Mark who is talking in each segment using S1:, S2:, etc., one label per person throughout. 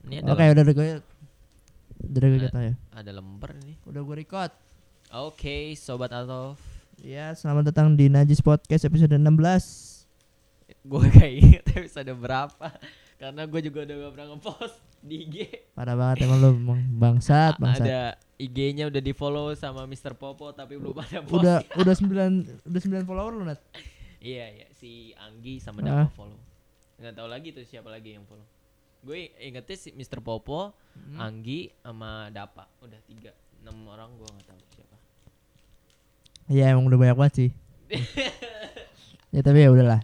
S1: Ini ada,
S2: Oke, udah udah gue udah gue kata ya.
S1: ada lembar ini.
S2: Udah gue record.
S1: Oke, sobat Atov.
S2: Ya, selamat datang di Najis Podcast episode 16.
S1: Gue kayak inget episode berapa karena gue juga udah gak pernah ngepost di IG.
S2: Parah banget emang lu emang bangsat, bangsat.
S1: Ada IG-nya udah di follow sama Mr. Popo tapi belum ada post.
S2: Udah udah 9 udah 9 follower lu, Nat.
S1: Iya iya si Anggi sama Dama
S2: Ah.
S1: follow. Nggak tahu lagi tuh siapa lagi yang follow. Gue ingetnya si Mr. Popo,
S2: Hmm.
S1: Anggi sama Dapa. Udah tiga, enam orang gue nggak tahu siapa.
S2: Iya, emang udah banyak banget sih. ya tapi ya udahlah.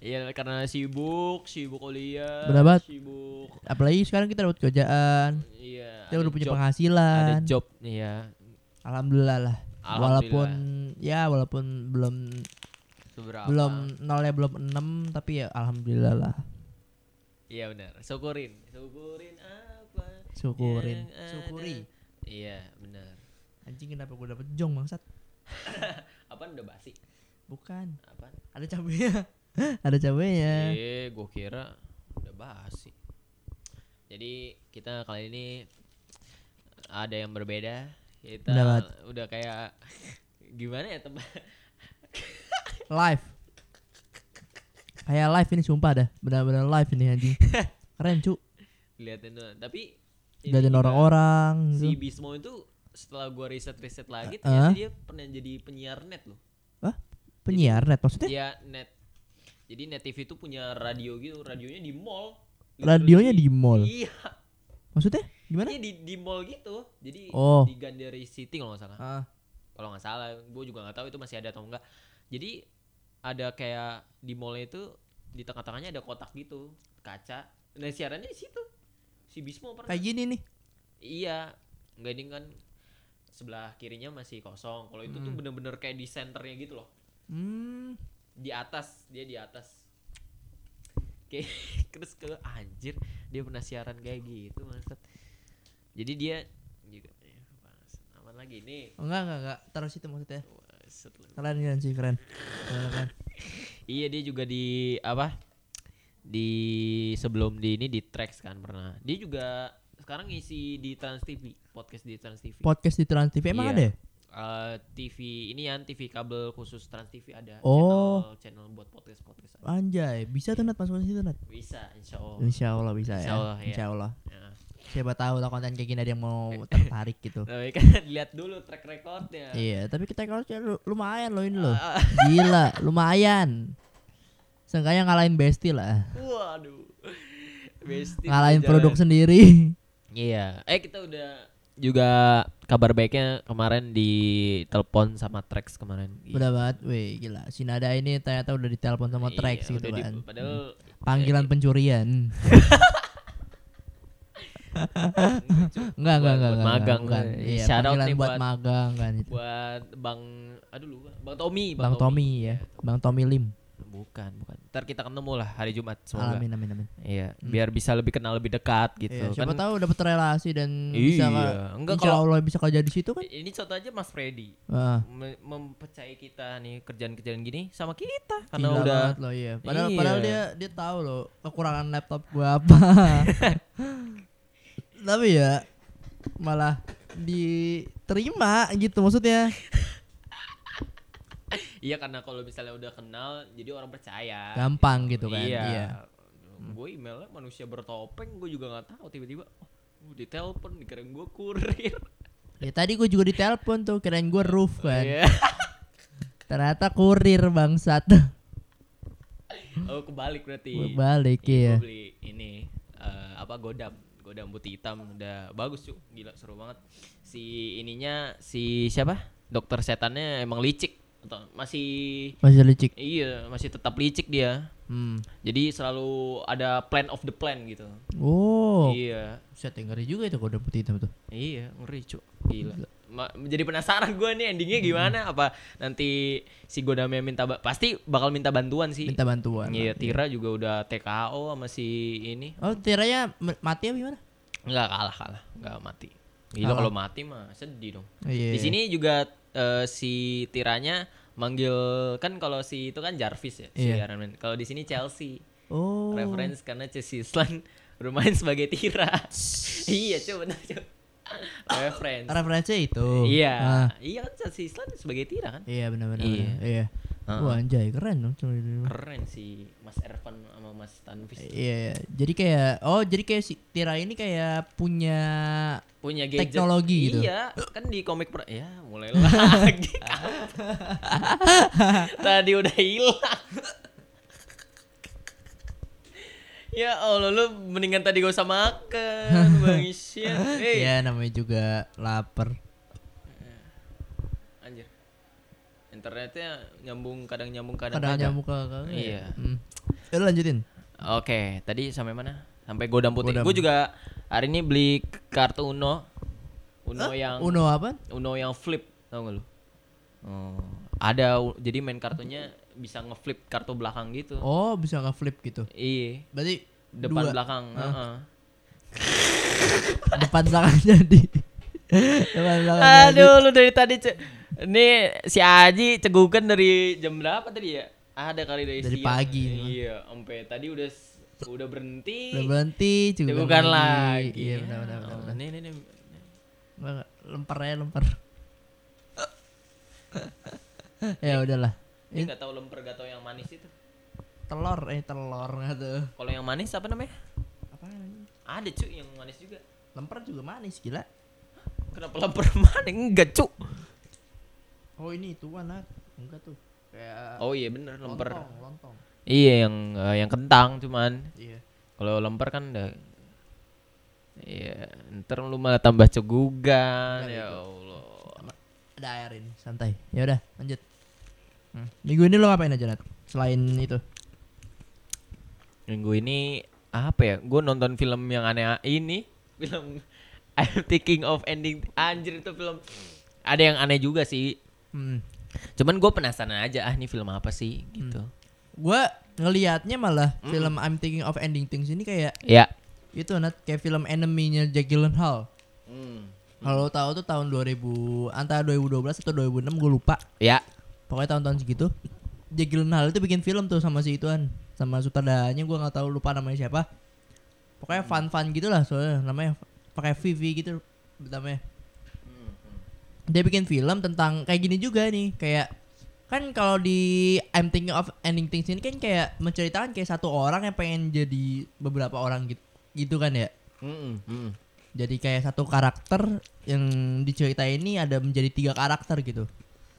S1: Iya karena sibuk, sibuk kuliah,
S2: Bener banget.
S1: sibuk.
S2: Apalagi sekarang kita dapat kerjaan,
S1: Iya.
S2: kita
S1: ada
S2: udah punya
S1: job, Ada
S2: penghasilan.
S1: job, iya.
S2: Alhamdulillah lah.
S1: Alhamdulillah.
S2: Walaupun ya walaupun belum
S1: Seberapa?
S2: belum nolnya belum 6 tapi ya alhamdulillah lah.
S1: Iya benar. Syukurin. Syukurin apa?
S2: Syukurin.
S1: yang ada?
S2: Syukuri.
S1: Iya benar.
S2: Anjing kenapa gue dapet jong bangsat?
S1: Apaan udah basi?
S2: Bukan.
S1: Apaan?
S2: Ada cabenya. ada cabenya.
S1: Eh, gue kira udah basi. Jadi kita kali ini ada yang berbeda. Kita
S2: Benar banget.
S1: udah kayak gimana ya teman?
S2: Live. Kayak live ini sumpah dah. Benar-benar live ini anjing. Keren cu.
S1: Liatin tuh. Tapi ini
S2: Diliatin
S1: juga
S2: orang-orang
S1: Iya, Si
S2: gitu.
S1: Bismo itu setelah gua riset-riset lagi
S2: Eh,
S1: ternyata
S2: eh.
S1: dia pernah jadi penyiar net loh.
S2: Hah? Penyiar net maksudnya?
S1: Iya, net. Jadi Net TV itu punya radio gitu, radionya di mall.
S2: Radionya
S1: Literally.
S2: di mall.
S1: Iya,
S2: Maksudnya gimana?
S1: iya di di mall gitu. Jadi
S2: Oh.
S1: di Gandari City kalau nggak salah.
S2: Ah,
S1: Kalau nggak salah, gue juga nggak tahu itu masih ada atau enggak. Jadi ada kayak di mall itu di tengah-tengahnya ada kotak gitu, kaca. Nah, siarannya di situ. Si Bismo pernah.
S2: kayak gini nih.
S1: Iya, nggak ini kan sebelah kirinya masih kosong. Kalau itu tuh
S2: Hmm.
S1: bener-bener kayak di senternya gitu loh.
S2: Hmm.
S1: di atas dia di atas oke terus ke anjir dia pernah siaran kayak gitu maksud jadi dia juga ya, bangsat. aman lagi nih
S2: Oh, enggak enggak enggak. Taruh situ maksudnya.
S1: Bangsat lu.
S2: Keren keren sih keren. Keren, keren.
S1: iya dia juga di apa di sebelum di ini di tracks kan pernah dia juga sekarang ngisi di Trans TV podcast di Trans TV
S2: Podcast di Trans TV
S1: Iya.
S2: emang ada ya?
S1: Eh, TV ini yang TV kabel khusus Trans TV ada
S2: Oh.
S1: channel channel buat podcast podcast
S2: Anjay, bisa tuh Nat masukin situ Nat.
S1: bisa insya Allah
S2: Insya Allah bisa
S1: Oh.
S2: ya.
S1: Insya Allah, ya.
S2: Insya Allah.
S1: Nah.
S2: Siapa tahu lah konten kayak gini ada yang mau tertarik gitu.
S1: Tapi kan lihat dulu track recordnya.
S2: Iya, tapi kita kalau lu- lumayan loh ini loh.
S1: Ah, ah,
S2: Gila, lumayan. Seenggaknya ngalahin Besti lah.
S1: Waduh. Besti
S2: Ngalahin
S1: jalan.
S2: produk sendiri.
S1: Iya. Eh kita udah juga kabar baiknya kemarin ditelepon sama Trax kemarin.
S2: Udah banget, wih gila. Si Nada ini ternyata udah ditelepon sama
S1: Iya,
S2: Trax gitu
S1: udah di-
S2: kan.
S1: padahal
S2: Panggilan pencurian. Hmm. Enggak, enggak,
S1: Buat-
S2: enggak.
S1: buat
S2: enggak,
S1: magang. eh,
S2: bukan. Iya,
S1: Shout out
S2: panggilan
S1: nih
S2: buat,
S1: buat-
S2: magang kan itu.
S1: buat Bang aduh lupa. Bang Tommy,
S2: Bang Tommy ya, Bang Tommy Lim.
S1: Bukan, bukan. Ntar kita ketemu lah hari Jumat semoga.
S2: Alamin, amin, amin.
S1: Iya, biar bisa lebih kenal lebih dekat gitu.
S2: Iya, siapa
S1: kan
S2: tahu dapat relasi dan bisa
S1: Iya, enggak
S2: insya
S1: kalau-
S2: Allah bisa kerja di situ kan.
S1: ini contoh aja Mas Freddy.
S2: Heeh.
S1: me- mempercayai kita nih kerjaan-kerjaan gini sama kita karena
S2: Gila
S1: udah
S2: banget loh iya. Padahal
S1: Iya.
S2: padahal dia dia tahu loh kekurangan laptop gua apa. Tapi ya malah diterima gitu maksudnya.
S1: iya karena kalau misalnya udah kenal jadi orang percaya
S2: Gampang gitu kan.
S1: iya,
S2: Iya.
S1: gue emailnya manusia bertopeng gue juga nggak tahu tiba-tiba oh, gue ditelepon dikira gue kurir
S2: Ya tadi gua juga ditelepon tuh kirain gua roof kan.
S1: Iya.
S2: Ternyata kurir bangsat.
S1: oh kebalik berarti
S2: Gua balik
S1: Iya,
S2: ya.
S1: gue beli ini eh, apa godam godam putih hitam udah bagus cuy gila seru banget si ininya si siapa dokter setannya emang licik atau masih
S2: Masih licik.
S1: Iya, masih tetap licik dia.
S2: Hmm.
S1: Jadi selalu ada plan of the plan gitu.
S2: Oh.
S1: Iya.
S2: Set yang ngeri juga itu kode putih hitam tuh.
S1: Iya, ngeri cu. Gila. Ma- jadi penasaran gue nih endingnya
S2: Hmm.
S1: gimana apa nanti si Godamnya minta ba- pasti bakal minta bantuan sih.
S2: Minta bantuan.
S1: Iya, Tira juga udah TKO sama si ini.
S2: Oh, tiranya m- mati apa gimana?
S1: Enggak kalah kalah, enggak mati. Gila
S2: Kalah.
S1: kalau mati mah sedih dong. Di
S2: Iya.
S1: sini juga eh, si Tiranya manggil kan kalau si itu kan Jarvis ya, si
S2: Iya.
S1: Iron Man. Kalau di sini Chelsea.
S2: Oh.
S1: reference karena Chelsea Island bermain sebagai Tira
S2: Eh,
S1: iya coba benar coba reference
S2: Referensinya itu.
S1: iya
S2: Ah,
S1: iya kan Chelsea Island sebagai Tira kan
S2: iya benar-benar.
S1: Iya.
S2: benar. Iya.
S1: Heeh.
S2: Wah anjay keren dong. Cuma itu.
S1: keren sih Mas Ervan sama Mas Tanvis
S2: Iya, jadi kayak oh jadi kayak si Tira ini kayak punya
S1: punya gadget
S2: Teknologi gitu.
S1: iya kan di komik per ya mulai lagi tadi udah hilang ya allah lu mendingan tadi gak usah makan bang Isya eh
S2: ya namanya juga lapar.
S1: anjir internetnya nyambung kadang nyambung kadang,
S2: Kadang
S1: kagak.
S2: nyamuk kakak.
S1: Iya.
S2: Hmm. Ya, lu lanjutin.
S1: Oke, tadi sampai mana? Sampai godam putih.
S2: Godam.
S1: Gue juga hari ini beli kartu Uno. Uno yang
S2: Uno apa?
S1: Uno yang flip, tau gak lu? Oh, ada u- jadi main kartunya bisa ngeflip kartu belakang gitu.
S2: Oh, bisa nggak flip gitu.
S1: Iya,
S2: Berarti
S1: depan
S2: dua.
S1: belakang. heeh.
S2: depan belakang jadi. depan belakang. jadi.
S1: Aduh, lu dari tadi ce- Nih si Aji cegukan dari jam berapa tadi ya? Ada kali dari,
S2: Dari
S1: siang.
S2: pagi.
S1: Iya, sampai tadi udah s- udah berhenti.
S2: Udah berhenti juga.
S1: Cegukan lagi.
S2: Iya, benar benar benar.
S1: Oh,
S2: benar.
S1: nih, nih, nih.
S2: Bang, Lempar aja lempar. ya udahlah.
S1: Ini
S2: Ini
S1: nggak tahu lemper gak tahu yang manis itu.
S2: telur eh telur nggak tuh.
S1: Kalau yang manis apa namanya?
S2: Apa namanya?
S1: Ada cuy yang manis juga.
S2: Lemper juga manis gila.
S1: Kenapa lemper manis? Enggak cu.
S2: Oh ini itu anak. Enggak tuh. Kayak
S1: Oh iya bener lemper.
S2: lontong, lontong.
S1: Iya yang eh, yang kentang cuman.
S2: Iya.
S1: Kalau lemper kan udah Iya, ntar lu malah tambah cegugan ya Allah.
S2: Oh, Ada airin, santai. Ya udah, lanjut. Hmm. Minggu ini lo ngapain aja, Nat? Selain itu.
S1: Minggu ini apa ya? Gue nonton film yang aneh ini, film I'm Thinking of Ending. Anjir itu film. Ada yang aneh juga sih.
S2: Hmm.
S1: Cuman gue penasaran aja ah ini film apa sih gitu.
S2: Gua ngelihatnya malah film I'm Thinking of Ending Things ini kayak
S1: Ya.
S2: itu Nat kayak film enemy-nya Jack Gyllenhaal.
S1: Hmm.
S2: Kalau lo tahu tuh tahun 2000 antara 2012 atau 2006 gue lupa.
S1: Ya.
S2: Pokoknya tahun-tahun segitu. Jack Gyllenhaal itu bikin film tuh sama si ituan, sama sutradaranya gua nggak tahu lupa namanya siapa. Pokoknya fun-fun gitulah soalnya namanya pakai Vivi gitu namanya. Dia bikin film tentang kayak gini juga nih, kayak kan kalau di I'm Thinking of Ending Things ini kan kayak menceritakan kayak satu orang yang pengen jadi beberapa orang gitu, gitu kan ya. Jadi kayak satu karakter yang diceritain ini ada menjadi tiga karakter gitu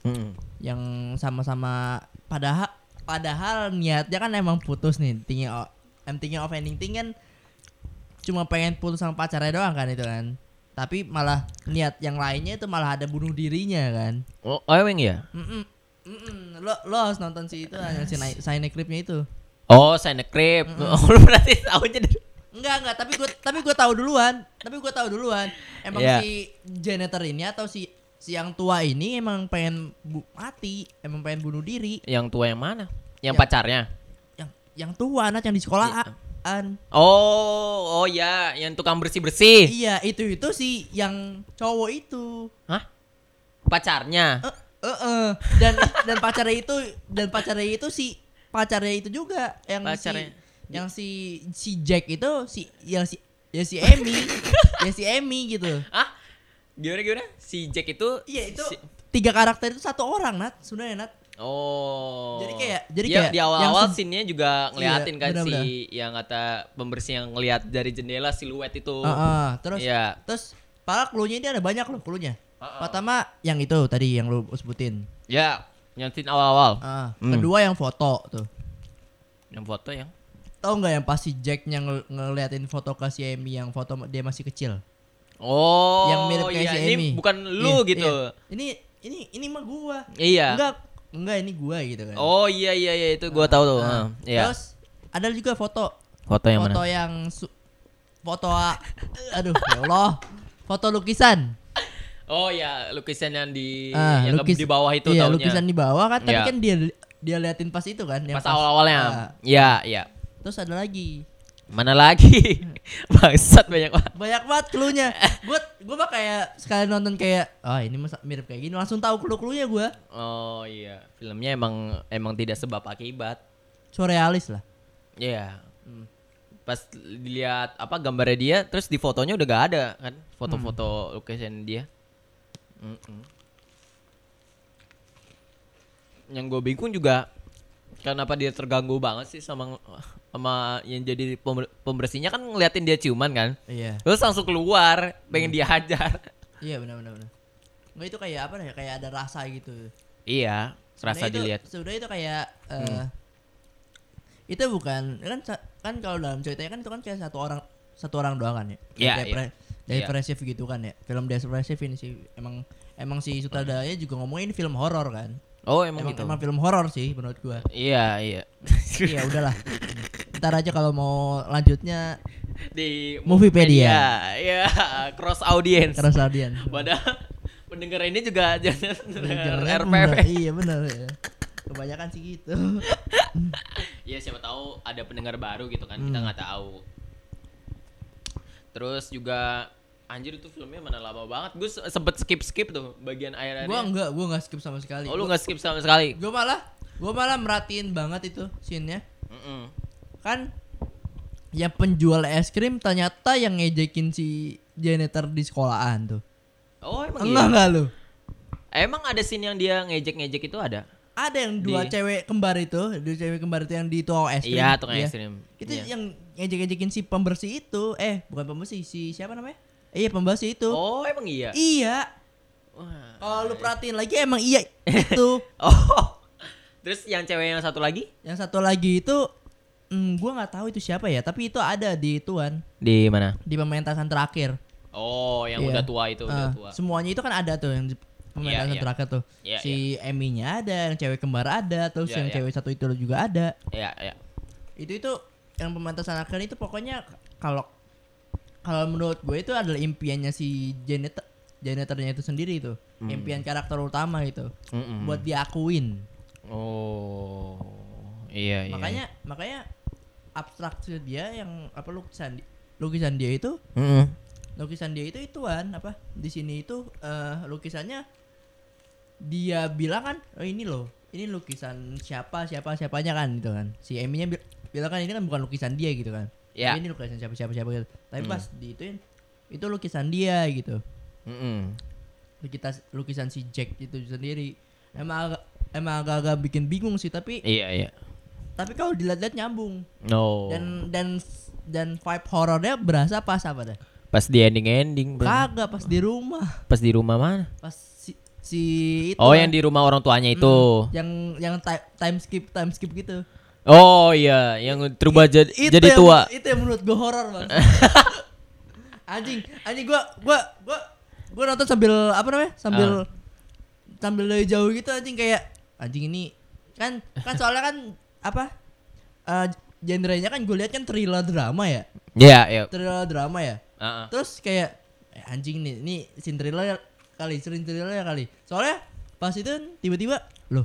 S1: Hmm.
S2: yang sama-sama padahal padahal niatnya kan emang putus nih thinking of, I'm thinking of ending thing kan cuma pengen putus sama pacarnya doang kan itu kan tapi malah niat yang lainnya itu malah ada bunuh dirinya kan
S1: Oh, oh emang ya?
S2: Mm-mm. Mm-mm. lo lo harus nonton si itu kan, yang si Sine Creepnya itu
S1: Oh, Sign the Crip.
S2: Hmm.
S1: Oh, lu berarti tahu aja dari-
S2: enggak enggak tapi gue tapi gue tahu duluan tapi gue tahu duluan emang
S1: Iya.
S2: si janitor ini atau si si yang tua ini emang pengen bu- mati emang pengen bunuh diri
S1: yang tua yang mana? Yang
S2: Ya.
S1: pacarnya.
S2: yang yang tua anak yang di sekolahan
S1: Oh, oh ya, yang tukang bersih-bersih.
S2: iya itu itu sih yang cowok itu
S1: Hah? Pacarnya.
S2: eh eh, eh. dan dan pacarnya itu dan pacarnya itu si pacarnya itu juga yang
S1: Pacarnya.
S2: si yang si si Jack itu si yang si ya si Emmy ya si Emmy gitu
S1: Ah? Gimana gimana? Si Jack itu
S2: iya itu
S1: si-
S2: tiga karakter itu satu orang nat sebenarnya nat
S1: Oh.
S2: Jadi kayak- jadi
S1: Dia-
S2: kayak
S1: di
S2: yang
S1: awal-awal
S2: se- Iya,
S1: scene-nya juga ngeliatin kan si
S2: benar-benar.
S1: yang kata pembersih yang ngeliat dari jendela siluet itu.
S2: Ah, ah.
S1: Oh.
S2: terus
S1: Iya.
S2: terus para clue-nya ini ada banyak loh clue-nya
S1: Ah, ah.
S2: pertama yang itu tadi yang lu sebutin
S1: Ya, yang scene awal-awal.
S2: Ah,
S1: Hmm.
S2: kedua yang foto tuh
S1: Yang foto yang
S2: Tahu nggak yang pasti Jacknya ngel- ngeliatin foto ke si Amy yang foto ma- dia masih kecil.
S1: Oh,
S2: yang mirip kayak
S1: iya.
S2: si
S1: ini
S2: Amy.
S1: bukan lu
S2: Iya,
S1: gitu.
S2: iya. Ini ini ini mah gua.
S1: Iya.
S2: Enggak enggak ini gua gitu kan.
S1: Oh iya iya iya itu gua tahu tuh.
S2: Nah,
S1: Heeh, Iya.
S2: Terus ada juga foto
S1: foto yang
S2: foto
S1: mana?
S2: yang su- foto a- aduh ya Allah. Foto lukisan.
S1: Oh iya, lukisan yang di
S2: Ah,
S1: yang
S2: lukis-
S1: di bawah itu
S2: iya,
S1: taunya.
S2: lukisan di bawah kan tapi
S1: Iya.
S2: kan dia dia liatin pas itu kan yang
S1: pas awal-awalnya.
S2: Ah,
S1: Iya, iya.
S2: terus ada lagi.
S1: Mana lagi? Bangsat banyak banget.
S2: banyak banget cluenya gue gue mah kayak sekali nonton kayak oh ini masa mirip kayak gini langsung tahu clue cluenya gue
S1: Oh iya, filmnya emang emang tidak sebab akibat.
S2: surrealis lah
S1: Iya. pas dilihat apa gambarnya dia terus di fotonya udah gak ada kan
S2: Hmm.
S1: foto-foto location dia Mm-mm. yang gue bingung juga kenapa dia terganggu banget sih sama sama yang jadi pember- pembersihnya kan ngeliatin dia ciuman kan
S2: Iya.
S1: terus langsung keluar pengen
S2: Hmm.
S1: dihajar
S2: Iya benar benar benar. Nggak itu kayak apa ya? Kayak ada rasa gitu.
S1: iya
S2: Sebenarnya
S1: rasa
S2: Nah, itu-
S1: dilihat Hmm.
S2: Sebenarnya itu kayak eh, itu bukan kan sa- kan kalau dalam ceritanya kan itu kan kayak satu orang satu orang doang kan ya.
S1: Iya,
S2: Kayak
S1: iya.
S2: depre- Depresif gitu kan ya. Film depresif ini sih emang emang si sutradaranya juga ngomongin film horor kan.
S1: oh emang,
S2: Emang,
S1: gitu
S2: emang film horor sih menurut gua.
S1: iya iya
S2: Iya udahlah. Ntar aja kalau mau lanjutnya
S1: di
S2: Moviepedia.
S1: ya cross audience
S2: Karena Sardian.
S1: Padahal pendengar ini juga jangan
S2: Jangan-jangan
S1: RPP.
S2: bener. Iya benar ya. Kebanyakan sih gitu.
S1: Ya siapa tahu ada pendengar baru gitu kan, kita nggak tahu. Terus juga anjir itu filmnya mana lama banget. Gue sempet skip-skip tuh bagian air
S2: gua enggak, gua enggak skip sama sekali.
S1: Oh lu nggak skip sama sekali.
S2: Gue malah gue malah merhatiin banget itu scene-nya.
S1: Mm-mm.
S2: Kan ya penjual es krim ternyata yang ngejekin si janitor di sekolahan tuh.
S1: Oh emang
S2: Enggak
S1: iya.
S2: enggak lu.
S1: Emang ada scene yang dia ngejek-ngejek itu ada?
S2: Ada yang dua
S1: Di-
S2: cewek kembar itu, dua cewek kembar itu yang di tukang es krim.
S1: Iya, tukang es krim.
S2: Itu
S1: Iya.
S2: yang ngejek-ngejekin si pembersih itu. Eh, bukan pembersih, si siapa namanya? Iya, pembersih itu.
S1: Oh emang iya.
S2: Iya.
S1: Wah.
S2: Kalau lu perhatiin lagi emang iya itu.
S1: Oh. Terus yang cewek yang satu lagi
S2: yang satu lagi itu hmm, gua nggak tahu itu siapa ya, tapi itu ada di tuan.
S1: di mana?
S2: di pementasan terakhir.
S1: Oh yang
S2: Iya.
S1: udah tua itu udah
S2: Eh,
S1: tua.
S2: Semuanya itu kan ada tuh yang di pementasan
S1: iya.
S2: terakhir tuh.
S1: Iya,
S2: si Eminya ada, yang cewek kembar ada, terus
S1: Iya,
S2: yang
S1: iya.
S2: cewek satu itu juga ada.
S1: Iya iya.
S2: Itu itu yang pementasan akhir itu pokoknya kalau kalau menurut gue itu adalah impiannya si janitor janitornya itu sendiri itu.
S1: Hmm.
S2: Impian karakter utama itu.
S1: Mm-mm.
S2: Buat diakuin.
S1: Oh, iya iya.
S2: Makanya makanya abstraksi dia yang apa lukisan di- lukisan dia itu
S1: Mm-mm.
S2: lukisan dia itu ituan apa di sini itu eh, lukisannya dia bilang kan oh ini loh ini lukisan siapa siapa siapanya kan gitu kan si Eminya bil- bilang kan ini kan bukan lukisan dia gitu kan
S1: Ya. Hmm.
S2: Tapi ini lukisan siapa siapa siapa gitu tapi pas diituin itu lukisan dia gitu
S1: Mm-mm.
S2: lukisan lukisan si Jack itu sendiri emang agak emang agak-agak bikin bingung sih tapi
S1: Iya iya.
S2: tapi kalau dilihat-lihat nyambung
S1: No.
S2: dan dan dan vibe horornya berasa pas apa dah
S1: pas di ending ending,
S2: kagak pas di rumah
S1: pas di rumah mana?
S2: pas si, si itu kan.
S1: Oh yang di rumah orang tuanya itu.
S2: yang yang ti- time skip time skip gitu
S1: Oh iya, yang berubah jadi
S2: Itu
S1: jadi
S2: yang-
S1: tua.
S2: itu yang menurut gue horor bang anjing anjing gue gue gue gue nonton sambil apa namanya sambil sambil dari jauh gitu anjing kayak anjing ini kan kan soalnya kan apa eh genrenya kan gue lihat kan thriller drama ya
S1: Iya iya.
S2: thriller drama ya
S1: Heeh.
S2: terus kayak eh, anjing nih ini Cinderella ya kali Cinderella ya kali soalnya pas itu kan tiba-tiba loh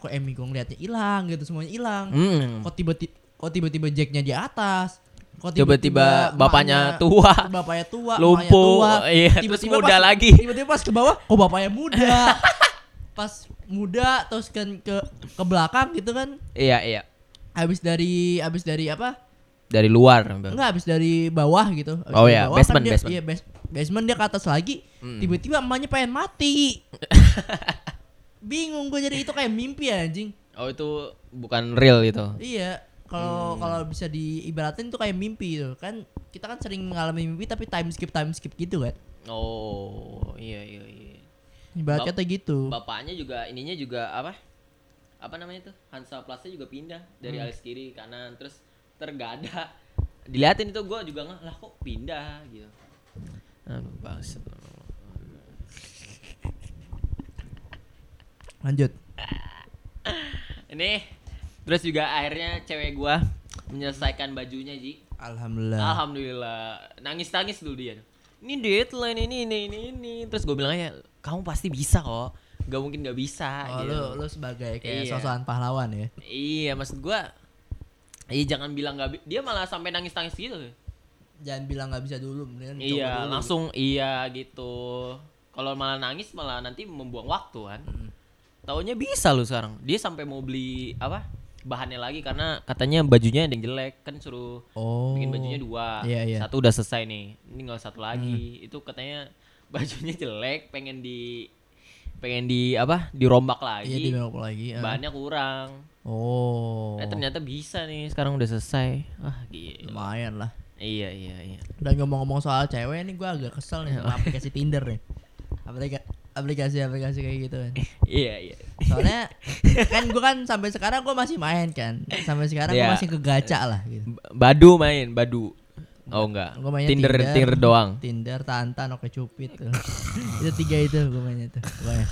S2: kok Emmy gue ngeliatnya hilang gitu semuanya hilang
S1: Mm.
S2: kok tiba-tiba kok tiba-tiba Jacknya di atas kok
S1: Tiba-tiba bapaknya
S2: emaknya-
S1: tua.
S2: bapaknya tua emaknya
S1: Lumpuh,
S2: tua.
S1: iya, terus muda
S2: pas-
S1: lagi.
S2: tiba-tiba pas ke bawah kok bapaknya muda pas muda terus kan ke ke belakang gitu kan
S1: Iya iya.
S2: habis dari habis dari apa
S1: Dari luar. Bang.
S2: Enggak habis dari bawah gitu. Habis
S1: Oh
S2: dari
S1: iya,
S2: bawah
S1: basement,
S2: dia,
S1: basement. Hmm.
S2: Iya, bas- basement dia ke atas lagi. Tiba-tiba emaknya pengen mati. Bingung gue jadi itu kayak mimpi anjing.
S1: Oh itu bukan real gitu.
S2: Iya,
S1: Hmm.
S2: kalau kalau bisa diibaratin tuh kayak mimpi gitu. Kan kita kan sering mengalami mimpi tapi time skip time skip gitu kan.
S1: Oh iya iya iya.
S2: Ibarat
S1: Bap-
S2: kata gitu.
S1: Bapaknya juga ininya juga apa? Apa namanya tuh? Hansa Plusnya juga pindah dari
S2: Hmm.
S1: alis kiri ke kanan terus tergada. Diliatin itu gua juga nggak lah kok pindah gitu. Aduh bangset.
S2: Lanjut.
S1: Ini terus juga akhirnya cewek gua menyelesaikan bajunya Ji.
S2: Alhamdulillah.
S1: Alhamdulillah. Nangis-nangis dulu dia. Ini deadline ini ini ini ini. Terus gue bilang aja, kamu pasti bisa kok. Gak mungkin gak bisa.
S2: Oh,
S1: gitu.
S2: lu, lu sebagai
S1: Iya.
S2: kayak sosokan pahlawan ya.
S1: Iya, maksud gua Iya jangan bilang nggak bi- dia malah sampai nangis-nangis gitu.
S2: Jangan bilang nggak bisa dulu, mendingan Hmm, coba
S1: iya,
S2: dulu.
S1: langsung iya gitu. Kalau malah nangis
S2: Hmm.
S1: malah nanti membuang waktu kan. Taunya bisa lu sekarang. Dia sampai mau beli apa? bahannya lagi karena katanya bajunya ada yang jelek kan suruh
S2: Oh.
S1: bikin bajunya dua
S2: Iya, iya. Hmm.
S1: satu udah selesai nih ini tinggal satu lagi itu katanya bajunya jelek pengen di pengen di apa dirombak lagi
S2: Iya di Merauke lagi. ah.
S1: bahannya kurang
S2: Oh.
S1: eh ternyata bisa nih sekarang udah selesai ah gila
S2: Lumayan lah.
S1: iya iya iya
S2: Dan ngomong-ngomong soal cewek nih gue agak kesel nih sama aplikasi Tinder nih. Aplika aplikasi-aplikasi kayak gitu kan.
S1: iya iya
S2: Soalnya kan gue kan sampai sekarang gue masih main kan. Sampai sekarang gue
S1: Iya.
S2: masih kegaca lah gitu.
S1: B- badu main badu oh enggak
S2: Gue mainnya
S1: tinder, tinder doang
S2: Tinder, Tantan, Oke Cupid tuh. itu tiga itu gue mainnya tuh. Gua main.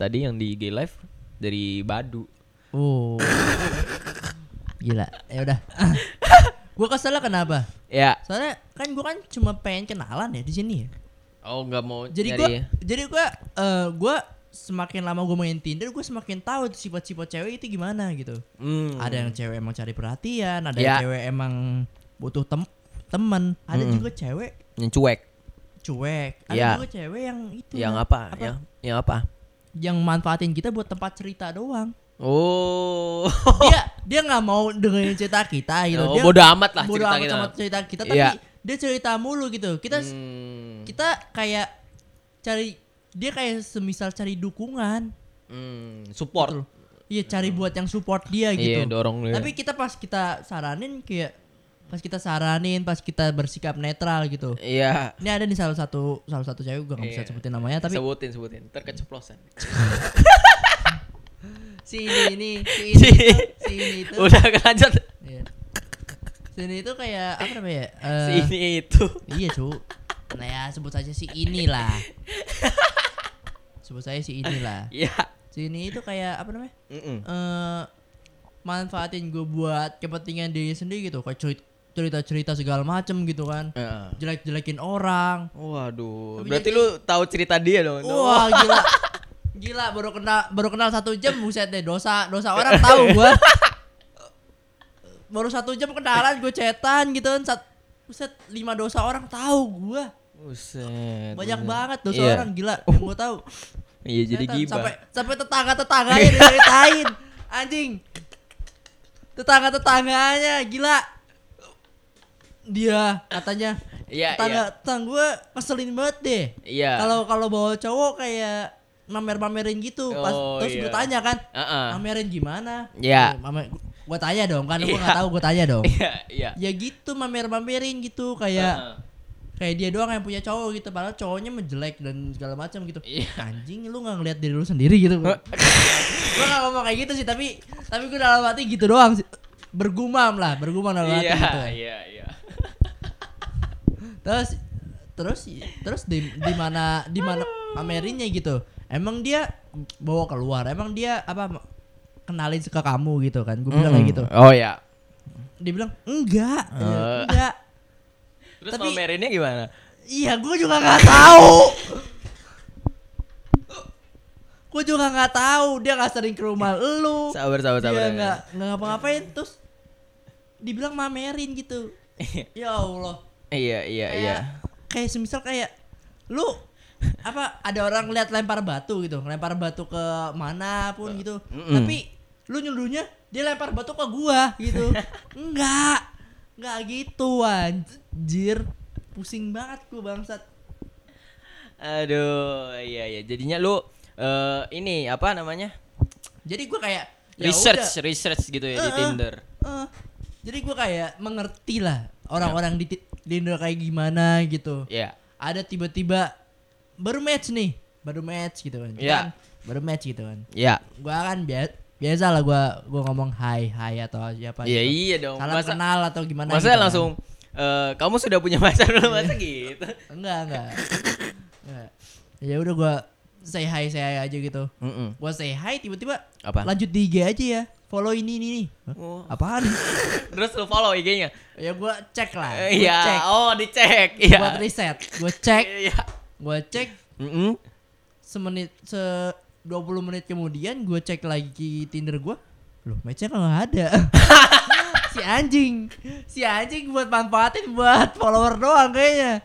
S1: tadi yang di gay live dari badu
S2: Oh. Gila. Ya udah. gue kesel kenapa?
S1: ya
S2: Soalnya kan gue kan cuma pengen kenalan ya di sini ya.
S1: oh enggak mau nyari
S2: Jadi gue,
S1: ya.
S2: jadi gue, gue semakin lama gue main Tinder, gue semakin tahu tuh sifat-sifat cewek itu gimana gitu.
S1: Hmm.
S2: Ada yang cewek emang cari perhatian, ada
S1: Ya.
S2: yang cewek emang butuh tem teman, ada
S1: Mm-mm.
S2: juga cewek
S1: yang cuek
S2: Hmm. cuek, ada
S1: Ya.
S2: juga cewek yang itu
S1: yang
S2: yang,
S1: apa, Ya. yang yang apa
S2: yang manfaatin kita buat tempat cerita doang.
S1: oh
S2: Dia dia nggak mau dengerin cerita kita gitu.
S1: Oh,
S2: dia
S1: bodo amat lah
S2: bodo
S1: cerita
S2: amat
S1: kita.
S2: sama cerita kita, tapi
S1: Iya.
S2: dia cerita mulu gitu. Kita
S1: Hmm.
S2: kita kayak cari dia kayak semisal cari dukungan
S1: Hmm, support
S2: Betul. Iya cari buat yang support dia gitu.
S1: Hmm. Iya, dorong dia.
S2: Tapi kita pas kita saranin kayak pas kita saranin, pas kita bersikap netral gitu.
S1: iya
S2: Ini ada nih salah satu salah satu cewek gue gak bisa
S1: Iya.
S2: sebutin namanya Ya, tapi
S1: sebutin sebutin terkeceplosan
S2: si ini ini si ini itu, si ini itu.
S1: udah lanjut
S2: Iya. Si ini itu kayak apa namanya? ya?
S1: si
S2: Eh,
S1: ini itu
S2: Iya cu Nah ya sebut saja si inilah Sebut saya si inilah
S1: ya
S2: Si ini itu kayak apa namanya
S1: Mm-mm.
S2: eh manfaatin gue buat kepentingan diri sendiri gitu kayak cerit- cerita-cerita segala macem gitu kan
S1: Heeh.
S2: jelek-jelekin orang
S1: Waduh,
S2: Tapi
S1: berarti
S2: jadi-
S1: lu tahu cerita dia dong. dong.
S2: wah gila gila baru kenal baru kenal satu jam buset deh dosa dosa orang tahu gue baru satu jam kenalan gue cetan gitu kan sat, buset lima dosa orang tahu gue
S1: Buset,
S2: banyak
S1: buset.
S2: banget dosa
S1: Iya.
S2: orang gila yang gue tahu
S1: Iya, jadi
S2: Ternyata
S1: gibah.
S2: Sampai sampai tetangga tetangganya diceritain, anjing. Tetangga tetangganya gila. Dia katanya
S1: Iya,
S2: tetangga tetangga gue keselin banget deh.
S1: Iya.
S2: Kalau kalau bawa cowok kayak mamer-mamerin gitu. Pas
S1: Oh,
S2: terus gue
S1: iya.
S2: tanya kan,
S1: Heeh.
S2: mamerin gimana?
S1: Iya.
S2: Eh, mamer- gue tanya dong, kan gue
S1: Iya.
S2: nggak tahu gue tanya dong.
S1: Iya, iya.
S2: ya gitu mamer-mamerin gitu kayak
S1: Heeh.
S2: kayak dia doang yang punya cowok gitu padahal cowoknya menjelek dan segala macam gitu
S1: Iya.
S2: anjing lu nggak ngeliat diri lu sendiri gitu gua nggak ngomong kayak gitu sih tapi tapi gue dalam hati gitu doang sih bergumam lah bergumam dalam hati
S1: Iya,
S2: gitu
S1: iya, iya.
S2: terus terus terus di di mana di mana pamerinnya gitu emang dia bawa keluar emang dia apa kenalin ke kamu gitu kan gue bilang kayak gitu
S1: Oh ya.
S2: dia bilang enggak
S1: Eh.
S2: enggak
S1: Terus
S2: Tapi-
S1: mamerinnya gimana?
S2: Iya, gue juga nggak tahu. gue juga nggak tahu dia nggak sering ke rumah lu.
S1: Sabar, sabar, sabar.
S2: Dia nggak nggak ngapa-ngapain terus dibilang mamerin gitu. ya Allah.
S1: Iya, iya,
S2: Kayak,
S1: iya.
S2: kayak semisal kayak lu apa ada orang lihat lempar batu gitu, lempar batu ke mana pun gitu.
S1: Mm-mm.
S2: Tapi lu nyuruhnya dia lempar batu ke gua gitu. Enggak. Enggak gitu anjir. Pusing banget gua bangsat.
S1: Aduh, iya, iya. Jadinya lu eh ini apa namanya?
S2: Jadi gua kayak ya
S1: research, research gitu ya di
S2: Eh, eh.
S1: Tinder.
S2: udah. Eh, jadi gua kayak mengerti lah
S1: Ya.
S2: orang-orang di Ti- Tinder kayak gimana gitu.
S1: Iya.
S2: Ada tiba-tiba baru match nih, baru match gitu kan.
S1: Iya.
S2: Kan, Baru match gitu kan.
S1: Iya.
S2: Gua kan bia- biasa lah gua gua ngomong hai hai atau siapa
S1: Iya,
S2: gitu.
S1: iya dong.
S2: Salam
S1: Masa
S2: kenal atau gimana
S1: masa
S2: gitu kan. Iya.
S1: langsung eh kamu sudah punya pacar belum? Masa gitu?
S2: kan. Enggak, enggak. Enggak. ya udah gua say hi say hi aja gitu.
S1: Mm-mm.
S2: Gua say hi tiba-tiba
S1: Apa?
S2: lanjut di IG aja ya. Follow ini ini nih. Hah?
S1: Oh.
S2: Apaan?
S1: Terus lu follow IG-nya?
S2: ya gua cek lah.
S1: Eh,
S2: Gua
S1: Iya,
S2: Cek.
S1: oh dicek. Iya.
S2: Buat riset. Gua cek,
S1: Iya.
S2: gua cek
S1: Mm-mm.
S2: semenit se 20 menit kemudian gue cek lagi Tinder gue loh matchnya kalau ada si anjing si anjing buat manfaatin buat follower doang kayaknya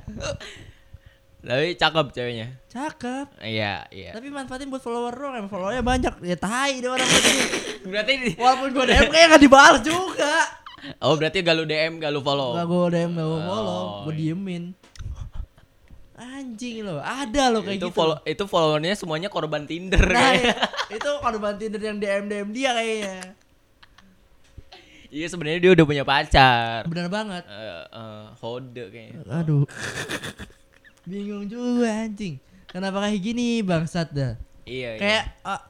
S1: Tapi cakep ceweknya.
S2: Cakep.
S1: Iya, iya.
S2: Tapi manfaatin buat follower doang, emang followernya banyak. Ya tai deh orang ini.
S1: Berarti
S2: Walaupun gue DM kan. kayaknya gak dibalas juga.
S1: Oh, berarti gak lu DM, gak lu follow.
S2: Gak gue DM, gak gue follow,
S1: Oh,
S2: gue
S1: iya.
S2: diemin. Anjing loh, ada loh kayak
S1: itu
S2: gitu.
S1: follow itu followernya semuanya korban Tinder
S2: Nah,
S1: kayaknya.
S2: itu korban Tinder yang DM DM dia kayaknya.
S1: Iya sebenarnya dia udah punya pacar.
S2: Benar banget.
S1: Eh, eh, Hode kayaknya.
S2: Aduh. Bingung juga anjing. Kenapa kayak gini bangsat dah.
S1: Iya.
S2: Kayak eh,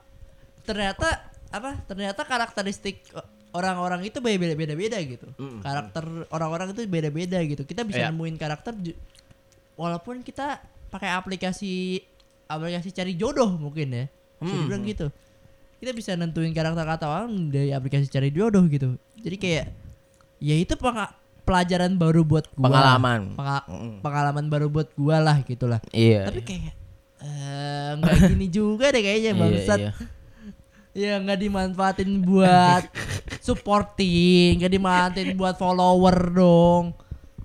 S2: ternyata apa? Ternyata karakteristik eh, orang-orang itu beda-beda gitu.
S1: Mm,
S2: Karakter orang-orang itu beda-beda gitu. Kita bisa
S1: Iya.
S2: nemuin karakter ju- walaupun kita pakai aplikasi aplikasi cari jodoh mungkin ya. Bisa
S1: Mm.
S2: dibilang gitu. Kita bisa nentuin karakter kata orang dari aplikasi cari jodoh gitu. Jadi kayak ya itu penga- pelajaran baru buat
S1: iya.
S2: gua. Penga- pengalaman baru buat gua lah gitu lah.
S1: Iya.
S2: Tapi kayak eh, nggak gini juga deh kayaknya bangsat.
S1: Iya,
S2: Ya nggak dimanfaatin buat supporting, nggak dimanfaatin buat follower dong.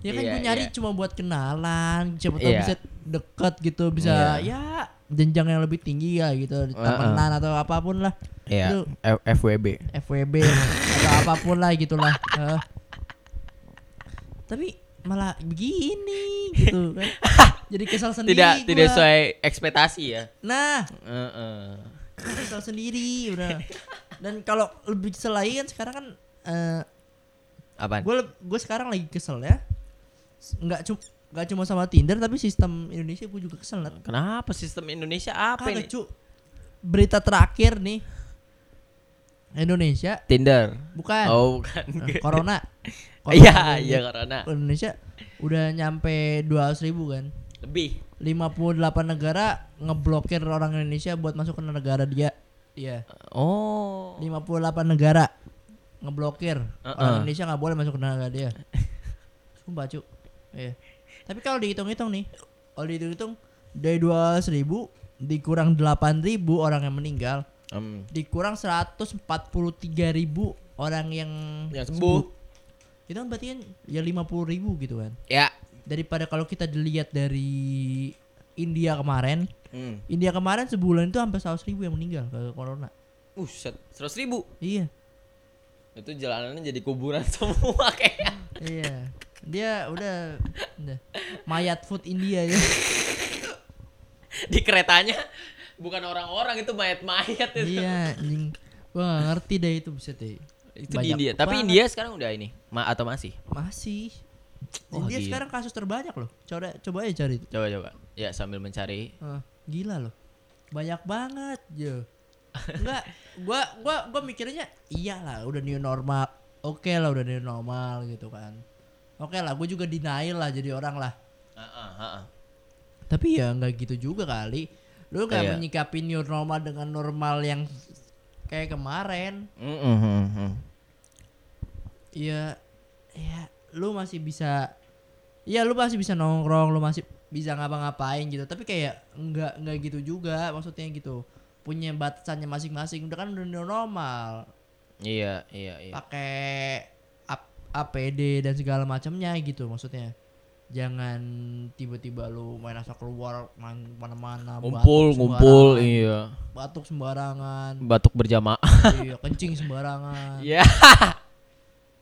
S2: Ya kan
S1: Iya,
S2: gue nyari
S1: iya.
S2: cuma buat kenalan, siapa tahu
S1: Iya.
S2: bisa deket gitu, bisa ya jenjang yang lebih tinggi ya gitu, temenan atau apapun lah.
S1: Iya.
S2: Itu
S1: F- FWB.
S2: FWB atau apapun lah gitulah. Heeh. Tapi malah begini gitu kan. Jadi kesal sendiri.
S1: Tidak tidak
S2: gua.
S1: sesuai ekspektasi ya.
S2: Nah,
S1: Heeh.
S2: gua kesal sendiri udah. Dan kalau lebih kesel lagi kan sekarang kan
S1: Apaan?
S2: gue gue sekarang lagi kesel ya. S- Nggak cuma nggak cuma sama Tinder tapi sistem Indonesia gue juga kesel. Nat.
S1: Kenapa sistem Indonesia apa
S2: Kagak
S1: ini?
S2: cu. Berita terakhir nih. Indonesia
S1: Tinder.
S2: bukan
S1: Oh, bukan.
S2: Eh, corona.
S1: Iya, iya corona.
S2: Indonesia udah nyampe 200 ribu kan
S1: Lebih.
S2: 58 negara ngeblokir orang Indonesia buat masuk ke negara dia Iya
S1: Oh.
S2: 58 negara ngeblokir orang
S1: Uh-uh.
S2: Indonesia nggak boleh masuk ke negara dia Sumpah cu Iya. Tapi kalau dihitung-hitung nih Kalau dihitung-hitung dari 200 ribu dikurang 8 ribu orang yang meninggal
S1: Hmm.
S2: dikurang 143 ribu orang yang
S1: Yang sembuh.
S2: itu kan berarti kan ya 50 ribu gitu kan
S1: Ya.
S2: daripada kalau kita dilihat dari India kemarin
S1: Hmm.
S2: India kemarin sebulan itu hampir 100 ribu yang meninggal ke corona
S1: Uh, seratus ribu.
S2: iya
S1: Itu jalanannya jadi kuburan semua kayak.
S2: iya dia udah, udah. mayat food India ya
S1: Di keretanya bukan orang-orang itu mayat-mayat itu.
S2: iya anjing gua gak ngerti deh itu bisa deh
S1: Itu di
S2: Banyak
S1: India. Tapi
S2: banget.
S1: India sekarang udah ini ma atau masih?
S2: masih
S1: Oh,
S2: India
S1: gila.
S2: sekarang kasus terbanyak loh coba coba aja cari itu
S1: Coba coba. Ya sambil mencari.
S2: Eh, gila loh. Banyak banget, Jo. Enggak, gua gua gua mikirnya iyalah udah new normal. Oke lah udah new normal gitu kan. Oke lah, gue juga denial lah jadi orang lah.
S1: Heeh, heeh.
S2: Tapi ya nggak gitu juga kali. Lu nggak
S1: Iya.
S2: menyikapi new normal dengan normal yang kayak kemarin. Iya, ya lu masih bisa Iya lu masih bisa nongkrong, lu masih bisa ngapa-ngapain gitu. Tapi kayak nggak nggak gitu juga maksudnya gitu. Punya batasannya masing-masing. Udah kan udah normal.
S1: Iya, iya, iya.
S2: Pakai ap- APD dan segala macamnya gitu maksudnya. Jangan tiba-tiba lu main asal keluar main mana-mana
S1: Ngumpul,
S2: batuk
S1: ngumpul,
S2: sembarangan,
S1: iya.
S2: batuk sembarangan
S1: Batuk berjamaah.
S2: iya kencing sembarangan
S1: Iya.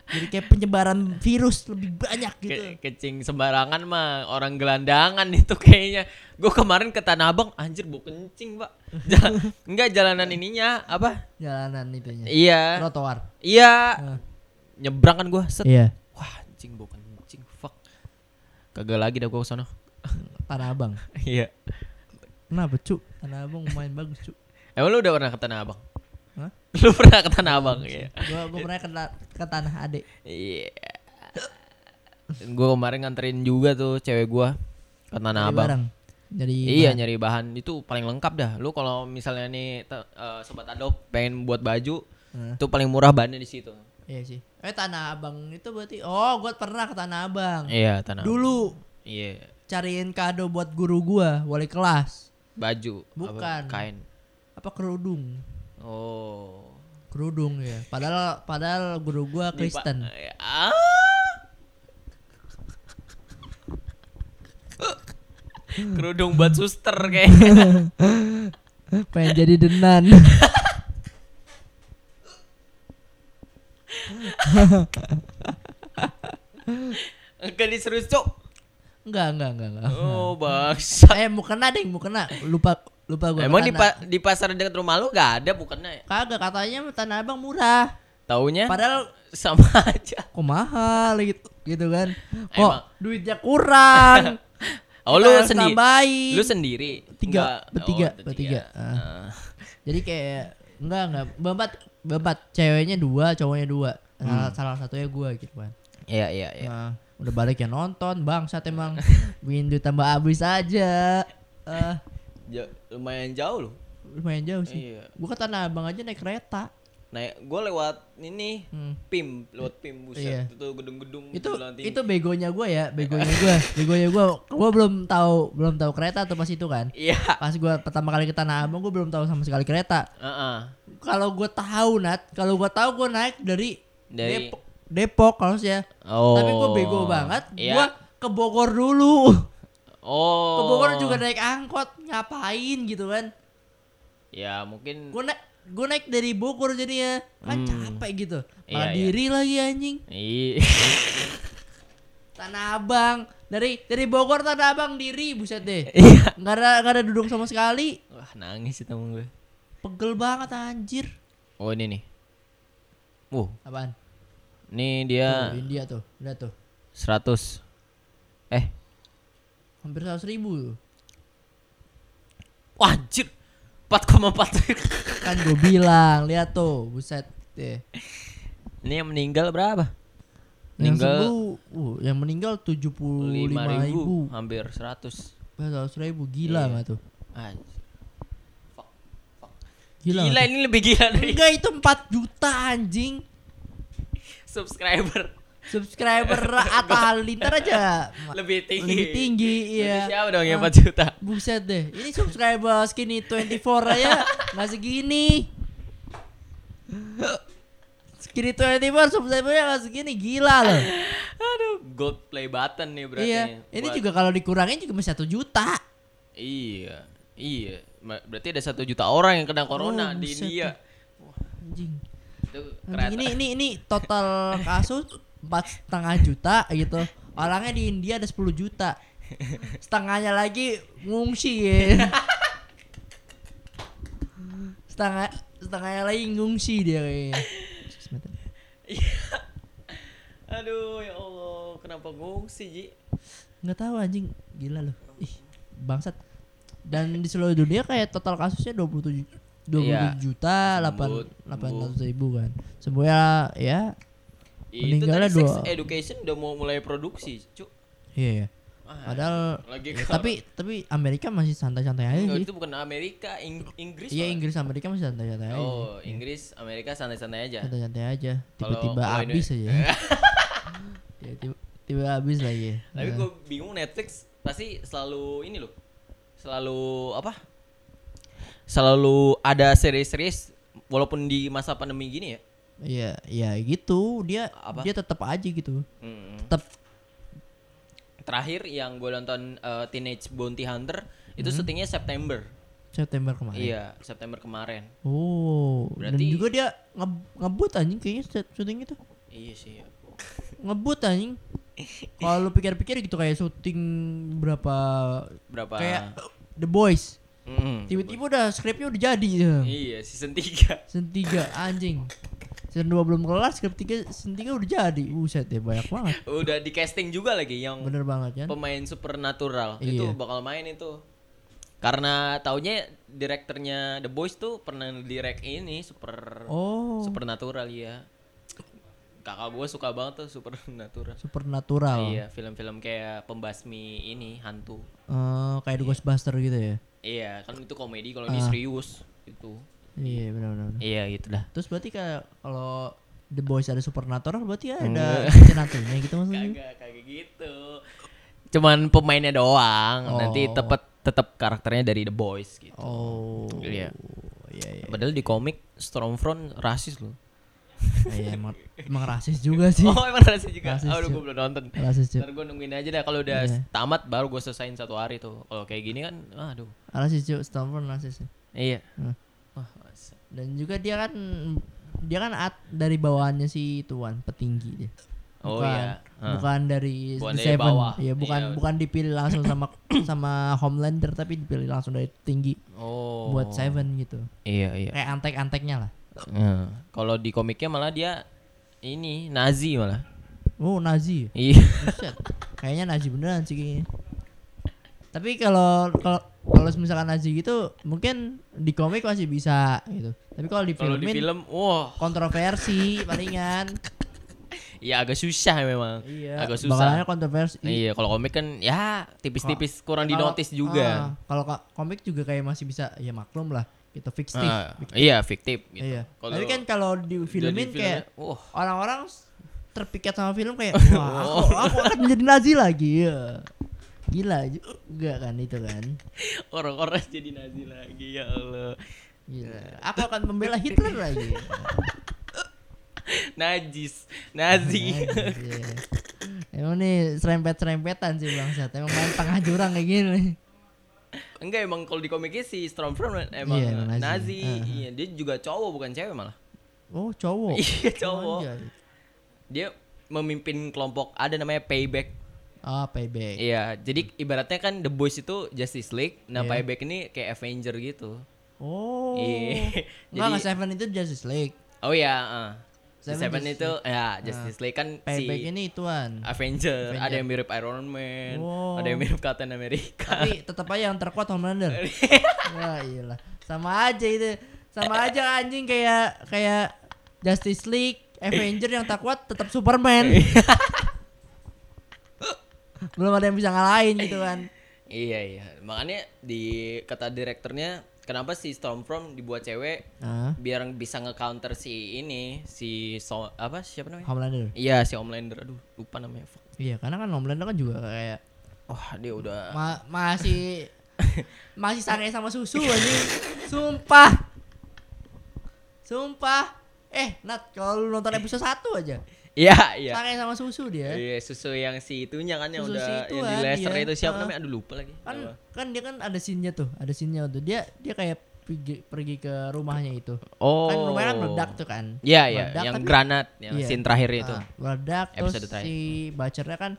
S2: jadi kayak penyebaran virus lebih banyak gitu
S1: Ke- kecing sembarangan mah orang gelandangan itu kayaknya gue kemarin ke Tanah Abang anjir bau kencing pak Jal- enggak jalanan ininya apa
S2: jalanan itunya
S1: iya
S2: trotoar Nah.
S1: iya
S2: Heeh.
S1: nyebrang kan gue set
S2: iya
S1: wah anjing bau kencing fuck kagak lagi dah gue ke sono
S2: tanah abang
S1: iya
S2: kenapa cu tanah abang main bagus cu
S1: emang lu udah pernah ke Tanah Abang
S2: Hah?
S1: lu pernah ke Tanah Abang iya
S2: gua gua pernah ke, ta- ke tanah ade
S1: iya gue kemarin nganterin juga tuh cewek gue ke Tanah
S2: Jadi
S1: Abang
S2: barang jadi
S1: Iya nyari bahan itu paling lengkap dah. Lu kalau misalnya nih te- eh, sobat Adop pengen buat baju,
S2: Heeh.
S1: itu paling murah bahannya di situ.
S2: iya sih eh tanah abang itu berarti oh gua pernah ke tanah abang
S1: Iya, tanah.
S2: dulu
S1: Iya,
S2: cariin kado buat guru gua wali kelas
S1: baju. apa,
S2: Bukan.
S1: kain.
S2: apa kerudung
S1: Oh.
S2: kerudung ya padahal padahal guru gua Kristen
S1: Di pa- Ah. kerudung buat suster kayak
S2: pengen jadi denan
S1: enggak diserus cok
S2: enggak enggak enggak enggak
S1: oh bangsa
S2: eh mau kena deh mau kena lupa lupa gua
S1: emang di,
S2: mukena.
S1: pa- di pasar dekat rumah lu gak ada bukannya ya?
S2: kagak katanya tanah abang murah
S1: taunya
S2: padahal
S1: sama aja
S2: kok mahal gitu gitu kan kok
S1: Emang.
S2: duitnya kurang
S1: oh
S2: Kita
S1: lu
S2: harus
S1: sendiri
S2: tambahin.
S1: lu sendiri
S2: Tiga,
S1: Enggak.
S2: bertiga,
S1: Oh,
S2: bertiga. Ah.
S1: Ah.
S2: jadi kayak enggak enggak babat babat ceweknya dua cowoknya dua salah, salah satunya gua gitu kan
S1: iya iya Hmm. iya
S2: Nah, udah balik ya nonton bangsat emang windu tambah abis aja Eh,
S1: Ja- lumayan jauh loh
S2: lumayan jauh sih
S1: Iya.
S2: gua ke tanah abang aja naik kereta
S1: naik gue lewat ini
S2: Hmm.
S1: pim lewat pim buset
S2: Iya.
S1: itu gedung-gedung
S2: itu
S1: lantai.
S2: itu begonya gua ya begonya gua begonya gua gua belum tahu belum tahu kereta tuh pas itu kan
S1: iya
S2: pas gua pertama kali ke tanah abang gua belum tahu sama sekali kereta
S1: Heeh.
S2: kalau gua tahu nat kalau gua tahu gua naik dari
S1: Dari-
S2: Depok, Depok kalau saya
S1: oh
S2: tapi gua bego banget
S1: Iya.
S2: gua ke Bogor dulu
S1: oh
S2: ke Bogor juga naik angkot ngapain gitu kan
S1: ya mungkin
S2: gue naik gue naik dari Bogor jadinya kan capek gitu
S1: Hmm. Iya,
S2: malah
S1: iya.
S2: diri lagi anjing
S1: Ih.
S2: Tanah Abang dari dari Bogor Tanah Abang diri buset deh
S1: iya
S2: nggak ada nggak ada duduk sama sekali
S1: wah nangis sih temen gue
S2: pegel banget anjir
S1: oh ini nih uh
S2: apaan
S1: ini
S2: tuh,
S1: dia
S2: India tuh udah tuh
S1: 100 eh
S2: hampir seratus ribu tuh.
S1: wah anjir 4,4
S2: kan gue bilang lihat tuh buset deh
S1: ini yang meninggal berapa
S2: yang
S1: Meninggal-
S2: sembuh uh, yang meninggal tujuh puluh lima ribu Eh,
S1: hampir 100
S2: seratus ribu gila
S1: Iya.
S2: nggak tuh
S1: Anjir.
S2: gila,
S1: Gila,
S2: nggak tuh?
S1: ini lebih gila dari
S2: enggak itu 4 juta anjing
S1: subscriber.
S2: subscriber Atta Halilintar aja Ma-
S1: Lebih tinggi.
S2: lebih tinggi iya
S1: Berarti Siapa dong yang
S2: Ah,
S1: 4 juta?
S2: buset deh ini subscriber skinny 24 aja nggak segini skinny 24 subscribernya nggak segini gila loh
S1: Aduh, gold play button nih berarti.
S2: iya
S1: nih,
S2: ini
S1: buat-
S2: juga kalau dikurangin juga masih satu juta
S1: Iya. Iya. Ma- Berarti ada satu juta orang yang kena corona
S2: Oh,
S1: di
S2: buset
S1: India.
S2: anjing
S1: Itu
S2: Anjing,
S1: kereta.
S2: ini ini ini total kasus empat setengah juta gitu orangnya di India ada 10 juta setengahnya lagi ngungsi ya setengah setengahnya lagi ngungsi dia kayaknya
S1: Aduh, ya Allah, kenapa ngungsi, Ji?
S2: nggak tahu anjing gila loh ih bangsat dan di seluruh dunia kayak total kasusnya 27 27
S1: Iya.
S2: juta
S1: Sembuh,
S2: 8 800 ribu kan sembuhnya ya
S1: Itu
S2: Meninggalnya
S1: tadi sex
S2: dua-
S1: education udah mau mulai produksi, Cuk.
S2: iya ya
S1: Ah,
S2: padahal
S1: lagi
S2: ya,
S1: kalau-
S2: tapi tapi Amerika masih santai-santai aja
S1: Enggak,
S2: sih
S1: itu bukan Amerika, Ing- Inggris.
S2: Iya
S1: malah.
S2: Inggris Amerika masih santai-santai aja.
S1: Oh, Inggris, Amerika santai-santai aja.
S2: Santai-santai aja.
S1: Kalau-
S2: Tiba-tiba
S1: kalau ini-
S2: habis aja. Tiba-tiba tiba habis lagi.
S1: Tapi
S2: Nah.
S1: gue bingung Netflix pasti selalu ini loh. Selalu apa? Selalu ada series-series walaupun di masa pandemi gini ya.
S2: Iya, iya gitu. Dia
S1: Apa?
S2: dia tetap aja gitu.
S1: Mm.
S2: Tetap
S1: Terakhir yang gue nonton eh, Teenage Bounty Hunter itu syutingnya September.
S2: September Hmm. kemarin.
S1: Iya, September kemarin.
S2: Oh, dan
S1: Berarti-
S2: juga dia nge- ngebut anjing kayaknya set- syuting itu.
S1: Iya sih. ya.
S2: Ngebut anjing. Kalau lu pikir-pikir gitu kayak syuting berapa
S1: Berapa?
S2: kayak The Boys.
S1: Mm.
S2: Tiba-tiba udah skripnya udah jadi. ya.
S1: Iya, season 3.
S2: Season 3 anjing. Season 2 belum kelar, skrip 3 season 3 udah jadi. Buset deh banyak banget.
S1: Udah di casting juga lagi yang
S2: Bener banget kan?
S1: pemain supernatural
S2: Iya.
S1: itu bakal main itu karena taunya direkturnya The Boys tuh pernah direct ini super
S2: Oh,
S1: supernatural ya kakak gue suka banget tuh supernatural
S2: supernatural.
S1: iya film-film kayak pembasmi ini hantu
S2: Eh, kayak The Ghostbuster gitu ya.
S1: iya kan itu komedi kalau ini serius itu
S2: Ah. Iya, benar benar. benar.
S1: iya gitu dah
S2: Terus berarti kayak kalau The Boys ada supernatural berarti ya
S1: Hmm.
S2: ada action hantunya gitu maksudnya.
S1: kagak kagak gitu cuman pemainnya doang nanti
S2: Oh.
S1: tetep tetap karakternya dari The Boys gitu
S2: Oh.
S1: Iya.
S2: Iya, iya.
S1: Padahal di komik Stormfront rasis loh.
S2: Ah, Iya emang, emang rasis juga sih.
S1: Oh emang rasis juga.
S2: Rasis,
S1: Aduh
S2: cuy.
S1: gue belum nonton.
S2: Rasis cuy.
S1: Ntar gue nungguin aja deh kalau udah
S2: Iya.
S1: tamat baru gue selesain satu hari tuh. Kalau kayak gini kan, aduh.
S2: Rasis cuy, Stanford rasis. cuy.
S1: Iya.
S2: Hmm.
S1: Wah, masa.
S2: Dan juga dia kan dia kan at dari bawahannya si tuan petinggi dia.
S1: Oh
S2: Bukan-
S1: iya. Hah.
S2: Bukan dari
S1: Bukan
S2: The
S1: dari
S2: Seven.
S1: bawah.
S2: Iya, bukan
S1: Iya.
S2: bukan dipilih langsung sama sama Homelander tapi dipilih langsung dari tinggi
S1: Oh.
S2: buat Seven gitu.
S1: Iya iya.
S2: Kayak antek-anteknya lah.
S1: Heeh. Kalau di komiknya malah dia ini Nazi malah.
S2: Oh, Nazi.
S1: Iya.
S2: Buset. Kayaknya Nazi beneran sih kayaknya. Tapi kalau kalau kalau misalkan Nazi gitu mungkin di komik masih bisa gitu. Tapi kalau di
S1: Kalau
S2: film
S1: di film, wah,
S2: kontroversi palingan.
S1: ya agak susah memang.
S2: Iya.
S1: Agak susah.
S2: Bakalannya kontroversi.
S1: Iya, kalau komik kan ya tipis-tipis kurang di
S2: Kalau-
S1: notice juga.
S2: ah, kalau ko- komik juga kayak masih bisa ya maklum lah. Gitu fiktif.
S1: Ah, iya, fiktif gitu.
S2: Iya.
S1: Kalau
S2: Tapi kan kalau di
S1: udah
S2: filmin
S1: di
S2: kayak
S1: filmnya, wah,
S2: orang-orang s- terpikat sama film kayak wah aku, aku akan menjadi Nazi lagi. Iya. Gila juga kan itu kan.
S1: orang-orang jadi Nazi lagi ya Allah.
S2: Gila. Gitu.
S1: Iya.
S2: Aku akan membela Hitler lagi.
S1: Najis, Nazi.
S2: Anjir. Emang nih serempet-serempetan sih bangsat. Emang main tengah jurang kayak gini.
S1: Enggak emang kalau di komiknya si Stormfront emang
S2: Iya,
S1: eh,
S2: emang Nazi.
S1: Nazi.
S2: Ah, ah.
S1: Iya, dia juga cowok bukan cewek malah.
S2: Oh, cowok.
S1: Iya, cowok.
S2: Anjay.
S1: Dia memimpin kelompok ada namanya Payback.
S2: Ah, payback.
S1: Iya, jadi ibaratnya kan The Boys itu Justice League, nah
S2: Iya.
S1: Payback ini kayak Avenger gitu.
S2: Oh.
S1: Iya.
S2: Enggak,
S1: Jadi-
S2: enggak Seven itu Justice League.
S1: Oh ya, heeh.
S2: Seven
S1: Seven
S2: Justice Ah.
S1: itu ya Justice League kan
S2: Payback
S1: si
S2: ini ituan.
S1: Avenger,
S2: Avenger.
S1: ada yang mirip Iron Man,
S2: Wow.
S1: ada yang mirip Captain America.
S2: Tapi tetap aja yang terkuat Homelander. ya iyalah. Sama aja itu. Sama aja anjing kayak kayak Justice League, Avenger yang terkuat tetap Superman. Belum ada yang bisa ngalahin gitu kan.
S1: iya iya, makanya di kata direkturnya kenapa si Stormfront dibuat cewek
S2: Nah,
S1: biar bisa nge-counter si ini si so, apa siapa namanya?
S2: Homelander.
S1: Iya si Homelander, aduh lupa namanya. Fuck.
S2: Iya, karena kan Homelander kan juga kayak
S1: Wah dia udah
S2: ma- masih masih sange sama susu anjing. Sumpah. Sumpah. Eh, Nat, kalau lu nonton episode 1 aja,
S1: Iya iya.
S2: sange sama susu dia.
S1: Iya susu yang si itunya kan yang
S2: Eh? Susu
S1: udah
S2: si
S1: yang di
S2: ituan,
S1: laser
S2: iya.
S1: itu siapa
S2: Ah.
S1: namanya? Aduh lupa lagi.
S2: kan
S1: Nama.
S2: kan dia kan ada scene-nya tuh ada scene-nya tuh dia dia kayak pergi, pergi ke rumahnya itu
S1: Oh.
S2: kan rumahnya kan meledak tuh kan
S1: Iya iya
S2: Meledak,
S1: yang
S2: tapi-
S1: granat yang
S2: Iya.
S1: scene terakhir itu.
S2: Ah, meledak terus
S1: Episode terakhir.
S2: si bacernya kan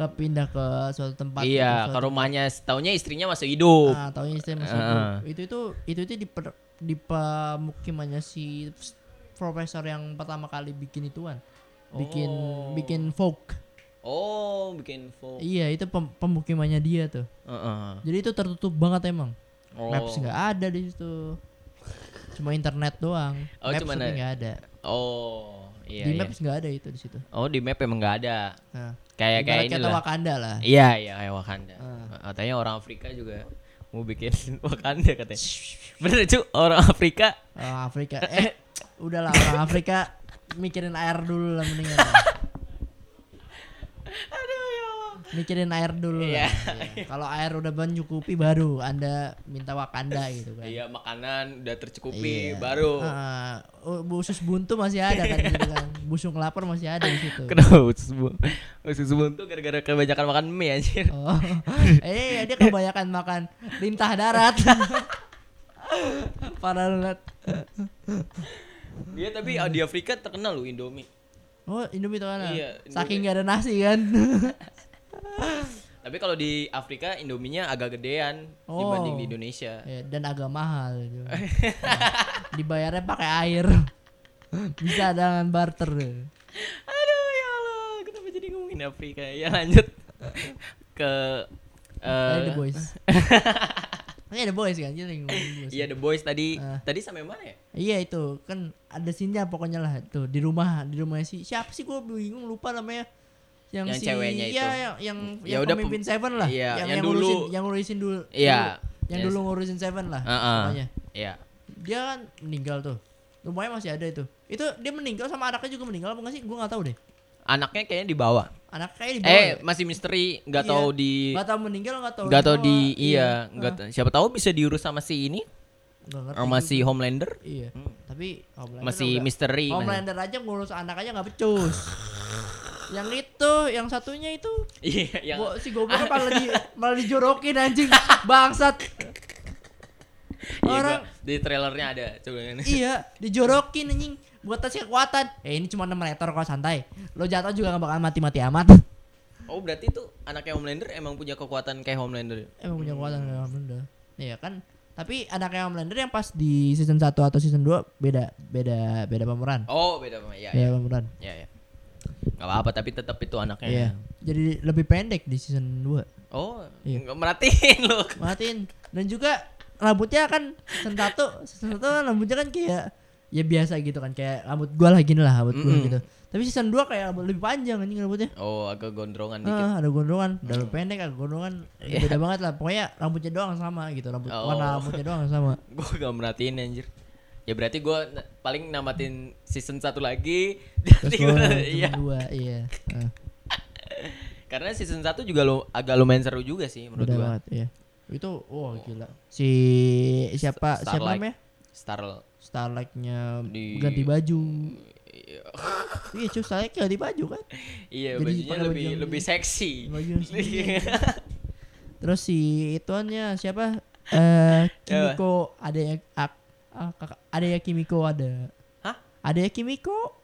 S2: kepindah ke suatu tempat
S1: iya
S2: gitu,
S1: ke
S2: suatu-
S1: rumahnya setaunya istrinya masih hidup.
S2: ah, tahu istri masih
S1: Ah.
S2: hidup. itu itu itu itu di per, di pemukimannya si profesor yang pertama kali bikin ituan bikin
S1: Oh.
S2: bikin folk
S1: Oh bikin folk.
S2: iya itu pem- pemukimannya dia tuh
S1: Heeh.
S2: jadi itu tertutup banget emang
S1: Oh.
S2: Maps nggak ada di situ. Cuma internet doang.
S1: Oh,
S2: maps
S1: cuma
S2: tapi
S1: ada.
S2: nggak ada.
S1: Oh iya.
S2: di
S1: iya.
S2: Maps nggak ada itu di situ.
S1: Oh di map emang nggak ada.
S2: Nah,
S1: Kayak kayak
S2: ibarat
S1: ini
S2: kata
S1: lah.
S2: Wakanda lah.
S1: Iya iya kayak Wakanda.
S2: Ah.
S1: Katanya orang Afrika juga mau bikin Wakanda katanya. Bener cu orang Afrika.
S2: Orang Afrika. Eh, udahlah orang Afrika mikirin air dulu lah mendingan. lah.
S1: Aduh ya Allah.
S2: Mikirin air dulu
S1: Iya.
S2: lah. Iya. Kalau air udah mencukupi baru Anda minta Wakanda gitu kan.
S1: Iya makanan udah tercukupi
S2: Iya.
S1: baru.
S2: Ah, u- usus buntu masih ada kan gitu kan. Busung lapar masih ada di situ.
S1: Kenapa usus bu- Usus buntu gara-gara kebanyakan makan mie anjir.
S2: Oh. Eh, dia kebanyakan makan lintah darat. Parah banget.
S1: Dia tapi ah, di Afrika terkenal loh Indomie.
S2: Oh, Indomie tuh kan.
S1: Iya,
S2: Saking gak ada nasi kan.
S1: Tapi kalau di Afrika Indominya agak gedean
S2: Oh.
S1: dibanding di Indonesia.
S2: Ya, Dan agak mahal gitu. Nah, Dibayarnya pakai air. Bisa dengan barter.
S1: Aduh ya Allah, kenapa jadi ngomongin Afrika? Ya lanjut ke eh,
S2: Kayak The Boys. Ini The Boys kan, kita lagi ngomongin The Boys.
S1: Iya The Boys tadi.
S2: Ah.
S1: Tadi sampai mana ya?
S2: Iya itu kan ada sinnya pokoknya lah tuh di rumah di rumahnya si siapa sih gue bingung lupa namanya yang,
S1: Yang
S2: si,
S1: ceweknya itu.
S2: ya, yang yang,
S1: Ya
S2: yang
S1: udah,
S2: pemimpin
S1: pem-
S2: Seven lah
S1: iya,
S2: yang,
S1: yang
S2: yang
S1: dulu.
S2: ngurusin yang ngurusin dulu
S1: Iya.
S2: dulu. yang
S1: Yes.
S2: dulu ngurusin Seven lah
S1: Heeh.
S2: pokoknya
S1: Iya.
S2: dia kan meninggal tuh rumahnya masih ada itu itu dia meninggal sama anaknya juga meninggal apa nggak sih gue nggak tahu deh
S1: Anaknya kayaknya dibawa.
S2: anaknya kayak di ya.
S1: Eh, masih misteri, nggak
S2: Iya.
S1: tahu di
S2: nggak tahu meninggal nggak tahu
S1: nggak tahu
S2: dibawa.
S1: di iya,
S2: Ah.
S1: nggak tahu- siapa tahu bisa diurus sama si ini
S2: Nggak ngerti.
S1: Sama si Homelander?
S2: Iya.
S1: Hmm.
S2: Tapi Homelander
S1: Masih
S2: nggak-
S1: misteri. masih.
S2: Homelander aja ngurus anak aja nggak becus. yang itu, yang satunya itu
S1: Iya, yang
S2: Bo- si goblok malah di malah dijorokin anjing bangsat.
S1: iya, gua-
S2: Orang
S1: di trailernya ada. Coba ini.
S2: iya dijorokin anjing buat tes kekuatan. Eh ini cuma 6 meter kok santai. Lo jatuh juga gak bakal mati-mati amat.
S1: Oh, berarti itu anaknya Homelander emang punya kekuatan kayak Homelander.
S2: Emang punya kekuatan kayak Homelander. Iya kan? Tapi anaknya Homelander yang pas di season 1 atau season 2 beda beda beda pemeran.
S1: Oh, beda sama ya.
S2: beda
S1: Ya,
S2: pemeran.
S1: ya. ya. Gak apa-apa tapi tetap itu anaknya.
S2: Iya. Jadi lebih pendek di season 2.
S1: Oh,
S2: Iya.
S1: nggak merhatiin lu.
S2: Matiin. Dan juga rambutnya kan season 1, season 1 kan rambutnya kan kayak ya biasa gitu kan kayak rambut gua lah gini lah rambut gua
S1: Mm-mm.
S2: gitu. Tapi season 2 kayak rambut lebih panjang anjing rambutnya.
S1: Oh, agak gondrongan dikit. Mm. Iya.
S2: Ah, ada gondrongan, ada lebih pendek, ada gondrongan. Beda banget lah. Pokoknya rambutnya doang sama gitu, rambut
S1: Oh.
S2: warna rambutnya doang sama.
S1: gue gak merhatiin anjir ya berarti gue paling namatin season satu lagi jadi
S2: Terus
S1: gua-
S2: gua
S1: iya.
S2: season 2, iya. Ah,
S1: karena season satu juga lu, agak lumayan seru juga sih menurut
S2: beda
S1: gue
S2: banget, iya. Itu wah gila. Si siapa siapa
S1: Starlight.
S2: namanya?
S1: star
S2: Starlight-nya
S1: Di-
S2: ganti baju.
S1: iya,
S2: Iya, cuy, Starlight ganti baju kan.
S1: iya
S2: Jadi
S1: bajunya
S2: pakai baju
S1: lebih
S2: yang-
S1: lebih seksi
S2: Baju yang sendiri. Terus si ituannya siapa? Eh Kimiko ada ya ada ya Kimiko ada.
S1: hah
S2: Ada ya Kimiko.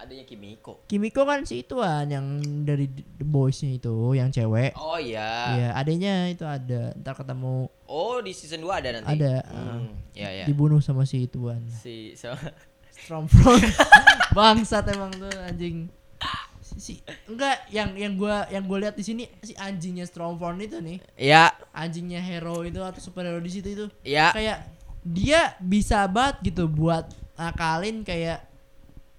S1: adanya Kimiko
S2: Kimiko kan si ituan yang dari The Boys-nya itu yang cewek.
S1: oh iya
S2: Iya, adanya itu ada. Ntar ketemu
S1: oh di season 2 ada nanti
S2: Ada, ah.
S1: hmm. ya ya
S2: dibunuh sama si ituan.
S1: si so,
S2: Stromfrog. Bangsat emang tuh anjing. Si, si- enggak yang yang gua yang gua lihat di sini si anjingnya Stromfrog itu nih.
S1: ya
S2: Anjingnya hero itu atau superhero di situ itu.
S1: ya
S2: kayak dia bisa banget gitu buat akalin kayak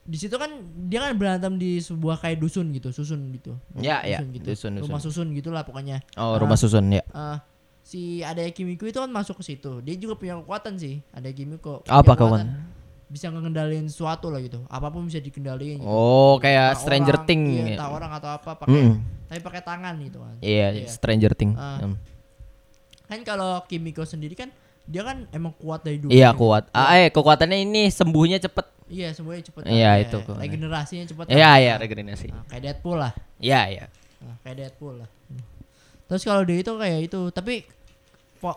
S2: di situ kan dia kan berantem di sebuah kayak dusun gitu susun gitu
S1: Ya, ya,
S2: gitu.
S1: dusun, dusun.
S2: rumah susun gitulah pokoknya
S1: oh rumah susun ya
S2: Eh, si ada Kimiko itu kan masuk ke situ dia juga punya kekuatan sih ada Kimiko punya
S1: Apa
S2: kekuatan. bisa ngendalin sesuatu lah gitu apapun bisa dikendaliin gitu.
S1: oh kayak
S2: Entah
S1: Stranger
S2: orang,
S1: Thing
S2: iya,
S1: ya.
S2: entah orang atau apa pakai
S1: Mm-mm.
S2: tapi pakai tangan gitu kan
S1: iya
S2: Iya.
S1: Stranger Thing
S2: Ah.
S1: Hmm.
S2: kan kalau Kimiko sendiri kan dia kan emang kuat dari dulu gitu.
S1: Iya kuat. Ah, eh kekuatannya ini sembuhnya cepet.
S2: Iya semuanya cepet
S1: Iya,
S2: kan.
S1: itu kok.
S2: Regenerasinya cepet kan.
S1: Iya iya regenerasi.
S2: Nah, Kayak Deadpool lah
S1: Iya iya.
S2: Nah, Kayak Deadpool lah Hmm. Terus kalau dia itu kayak itu Tapi po,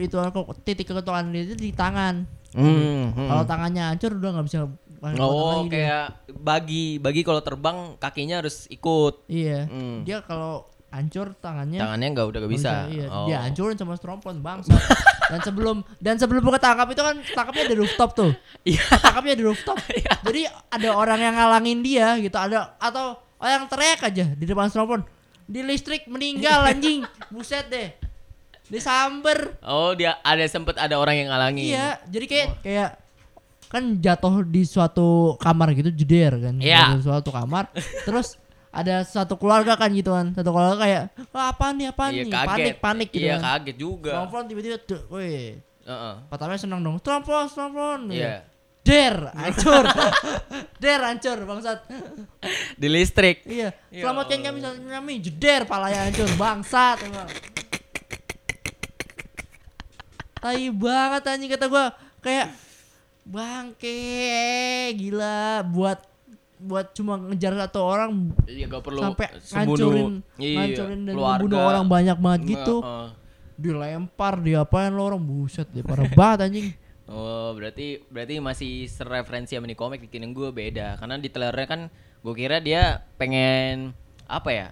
S2: Itu kok- titik kekuatan dia itu di tangan
S1: Hmm.
S2: Kalau
S1: hmm.
S2: tangannya hancur udah nggak bisa pakai kekuatan
S1: Oh
S2: lagi dia.
S1: kayak bagi bagi kalau terbang kakinya harus ikut.
S2: Iya
S1: Hmm.
S2: Dia kalau hancur tangannya
S1: Tangannya nggak udah gak
S2: nggak
S1: bisa.
S2: iya.
S1: Oh.
S2: Dia hancurin sama Strompon bangsa Dan sebelum Dan sebelum ketangkap itu kan Tangkapnya di rooftop tuh
S1: Iya.
S2: Tangkapnya di rooftop Jadi ada orang yang ngalangin dia gitu ada atau orang teriak aja di depan Strompon di listrik meninggal
S1: Iya.
S2: anjing buset deh disamber
S1: Oh dia ada sempet ada orang yang ngalangi.
S2: iya jadi kayak
S1: Oh.
S2: kayak kan jatuh di suatu kamar gitu jeder kan
S1: Iya.
S2: Jatuh di suatu kamar terus ada satu keluarga kan gitu kan satu keluarga kayak Wah, apaan nih apaan
S1: Iya
S2: nih
S1: kaget.
S2: panik panik gitu
S1: Iya
S2: kan
S1: kaget juga.
S2: Strompon tiba-tiba "Duh, woi
S1: Heeh.
S2: pertama senang dong Strompon Strompon
S1: Iya.
S2: der hancur der hancur bangsat
S1: Di listrik.
S2: Iya,
S1: Ya
S2: selamatkan kami selamatkan kami jeder palanya hancur bangsat emang. Tai banget anjing kata gua kayak bangke gila buat buat cuma ngejar satu orang
S1: Iya gak perlu
S2: sampai
S1: sembunuh.
S2: ngancurin
S1: Iya,
S2: ngancurin dan
S1: keluarga. eh.
S2: ngebunuh orang banyak banget gitu
S1: Heeh.
S2: dilempar diapain lo orang buset deh parah banget anjing
S1: Oh, berarti berarti masih sereferensi sama di komik bikin gue beda. Karena di trailernya kan gue kira dia pengen apa ya?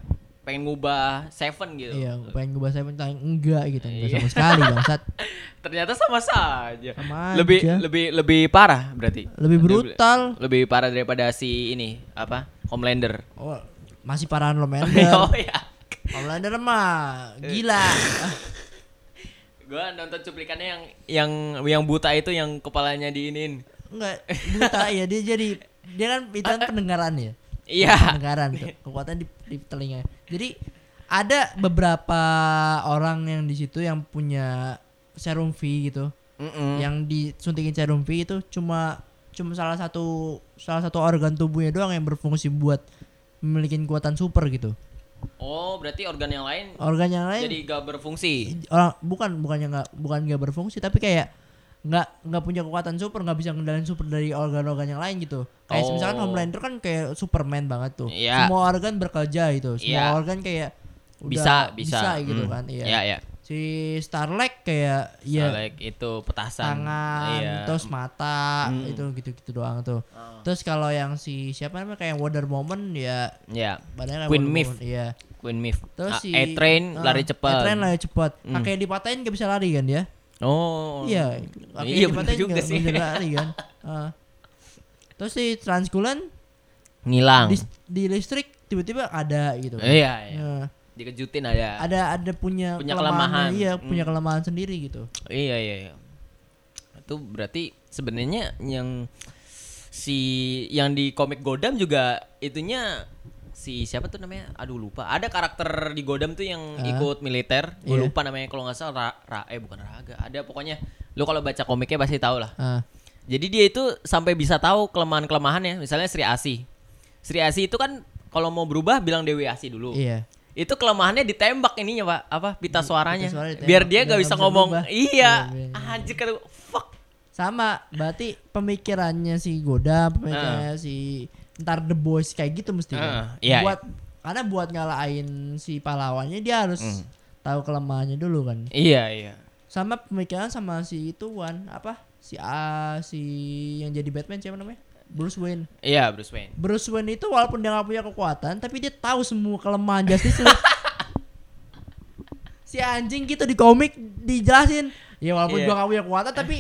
S1: Pengen ngubah Seven gitu.
S2: iya gua pengen gue bahasa enggak gitu enggak sama sekali bangsat
S1: Ternyata sama saja.
S2: Sama
S1: lebih
S2: aja.
S1: lebih lebih parah berarti.
S2: lebih brutal
S1: Lebih parah daripada si ini apa? Homelander.
S2: oh, masih parahan lo men
S1: oh ya.
S2: Homelander mah gila. Ah,
S1: Gue nonton cuplikannya yang yang yang buta itu yang kepalanya diinin.
S2: Enggak buta ya dia jadi dia kan itu kan pendengaran ya.
S1: Iya.
S2: Pendengaran tuh kekuatan di, di telinga. Jadi ada beberapa orang yang di situ yang punya serum V gitu.
S1: Mm-mm.
S2: Yang disuntikin serum V itu cuma cuma salah satu salah satu organ tubuhnya doang yang berfungsi buat memiliki kekuatan super gitu.
S1: Oh, berarti organ yang lain
S2: Organ yang lain
S1: jadi gak berfungsi.
S2: orang bukan bukannya nggak bukan nggak berfungsi tapi kayak nggak nggak punya kekuatan super nggak bisa ngendalin super dari organ-organ yang lain gitu kayak
S1: Oh.
S2: misalkan Homelander kan kayak Superman banget tuh
S1: Iya.
S2: semua organ bekerja gitu semua
S1: Iya.
S2: organ kayak udah
S1: bisa bisa,
S2: gitu
S1: Hmm.
S2: kan iya
S1: ya ya
S2: si Starlight kayak ya
S1: Soalnya itu petasan
S2: tangan
S1: Iya.
S2: terus mata
S1: Hmm.
S2: itu gitu-gitu doang tuh
S1: Ah.
S2: terus kalau yang si siapa namanya kayak Wonder Woman ya
S1: ya
S2: badannya kayak
S1: Queen
S2: Wonder
S1: Myth.
S2: Woman, iya
S1: Queen Myth
S2: terus
S1: Ah,
S2: si
S1: A-Train
S2: ah,
S1: lari cepat
S2: A-Train lari cepat
S1: Hmm.
S2: pakai dipatahin gak bisa lari kan dia
S1: oh
S2: Iya, pakai
S1: iya bener
S2: dipatahin
S1: juga
S2: nggak
S1: sih
S2: bisa lari kan. Ah. terus si Transkulan
S1: ngilang
S2: di, di listrik tiba-tiba ada gitu. kan.
S1: iya iya.
S2: Nah,
S1: dikejutin ada
S2: ada ada punya,
S1: Punya kelemahan.
S2: Iya,
S1: Hmm.
S2: punya kelemahan sendiri gitu.
S1: Iya iya iya. Itu berarti sebenarnya yang si yang di komik Godam juga itunya si siapa tuh namanya? Aduh lupa. Ada karakter di Godam tuh yang
S2: Ah.
S1: ikut militer. Gue
S2: Iya.
S1: lupa namanya kalau nggak salah ra, Ra- eh bukan Raga. Ada pokoknya lu kalau baca komiknya pasti tahu lah.
S2: Ah,
S1: Jadi dia itu sampai bisa tahu kelemahan-kelemahannya. Misalnya Sri Asih. Sri Asih itu kan kalau mau berubah bilang Dewi Asih dulu.
S2: iya.
S1: Itu kelemahannya ditembak ininya pak apa pita suaranya
S2: suara ditembak,
S1: biar dia
S2: biar
S1: gak
S2: nggak
S1: bisa
S2: bisa
S1: ngomong
S2: berubah.
S1: iya
S2: Iya,
S1: anjir kata gua, fuck
S2: Sama, berarti pemikirannya si Goda, pemikirannya si ntar The Boys kayak gitu
S1: Ah,
S2: mesti kan.
S1: iya,
S2: buat karena buat ngalahin si pahlawannya dia harus
S1: Hmm.
S2: tahu kelemahannya dulu kan.
S1: iya iya
S2: sama pemikiran sama si ituan apa si A si yang jadi Batman siapa namanya Bruce Wayne
S1: iya Bruce Wayne
S2: Bruce Wayne itu walaupun dia nggak punya kekuatan tapi dia tahu semua kelemahan Justice League si anjing gitu di komik dijelasin ya
S1: Iya.
S2: walaupun gua nggak punya kekuatan tapi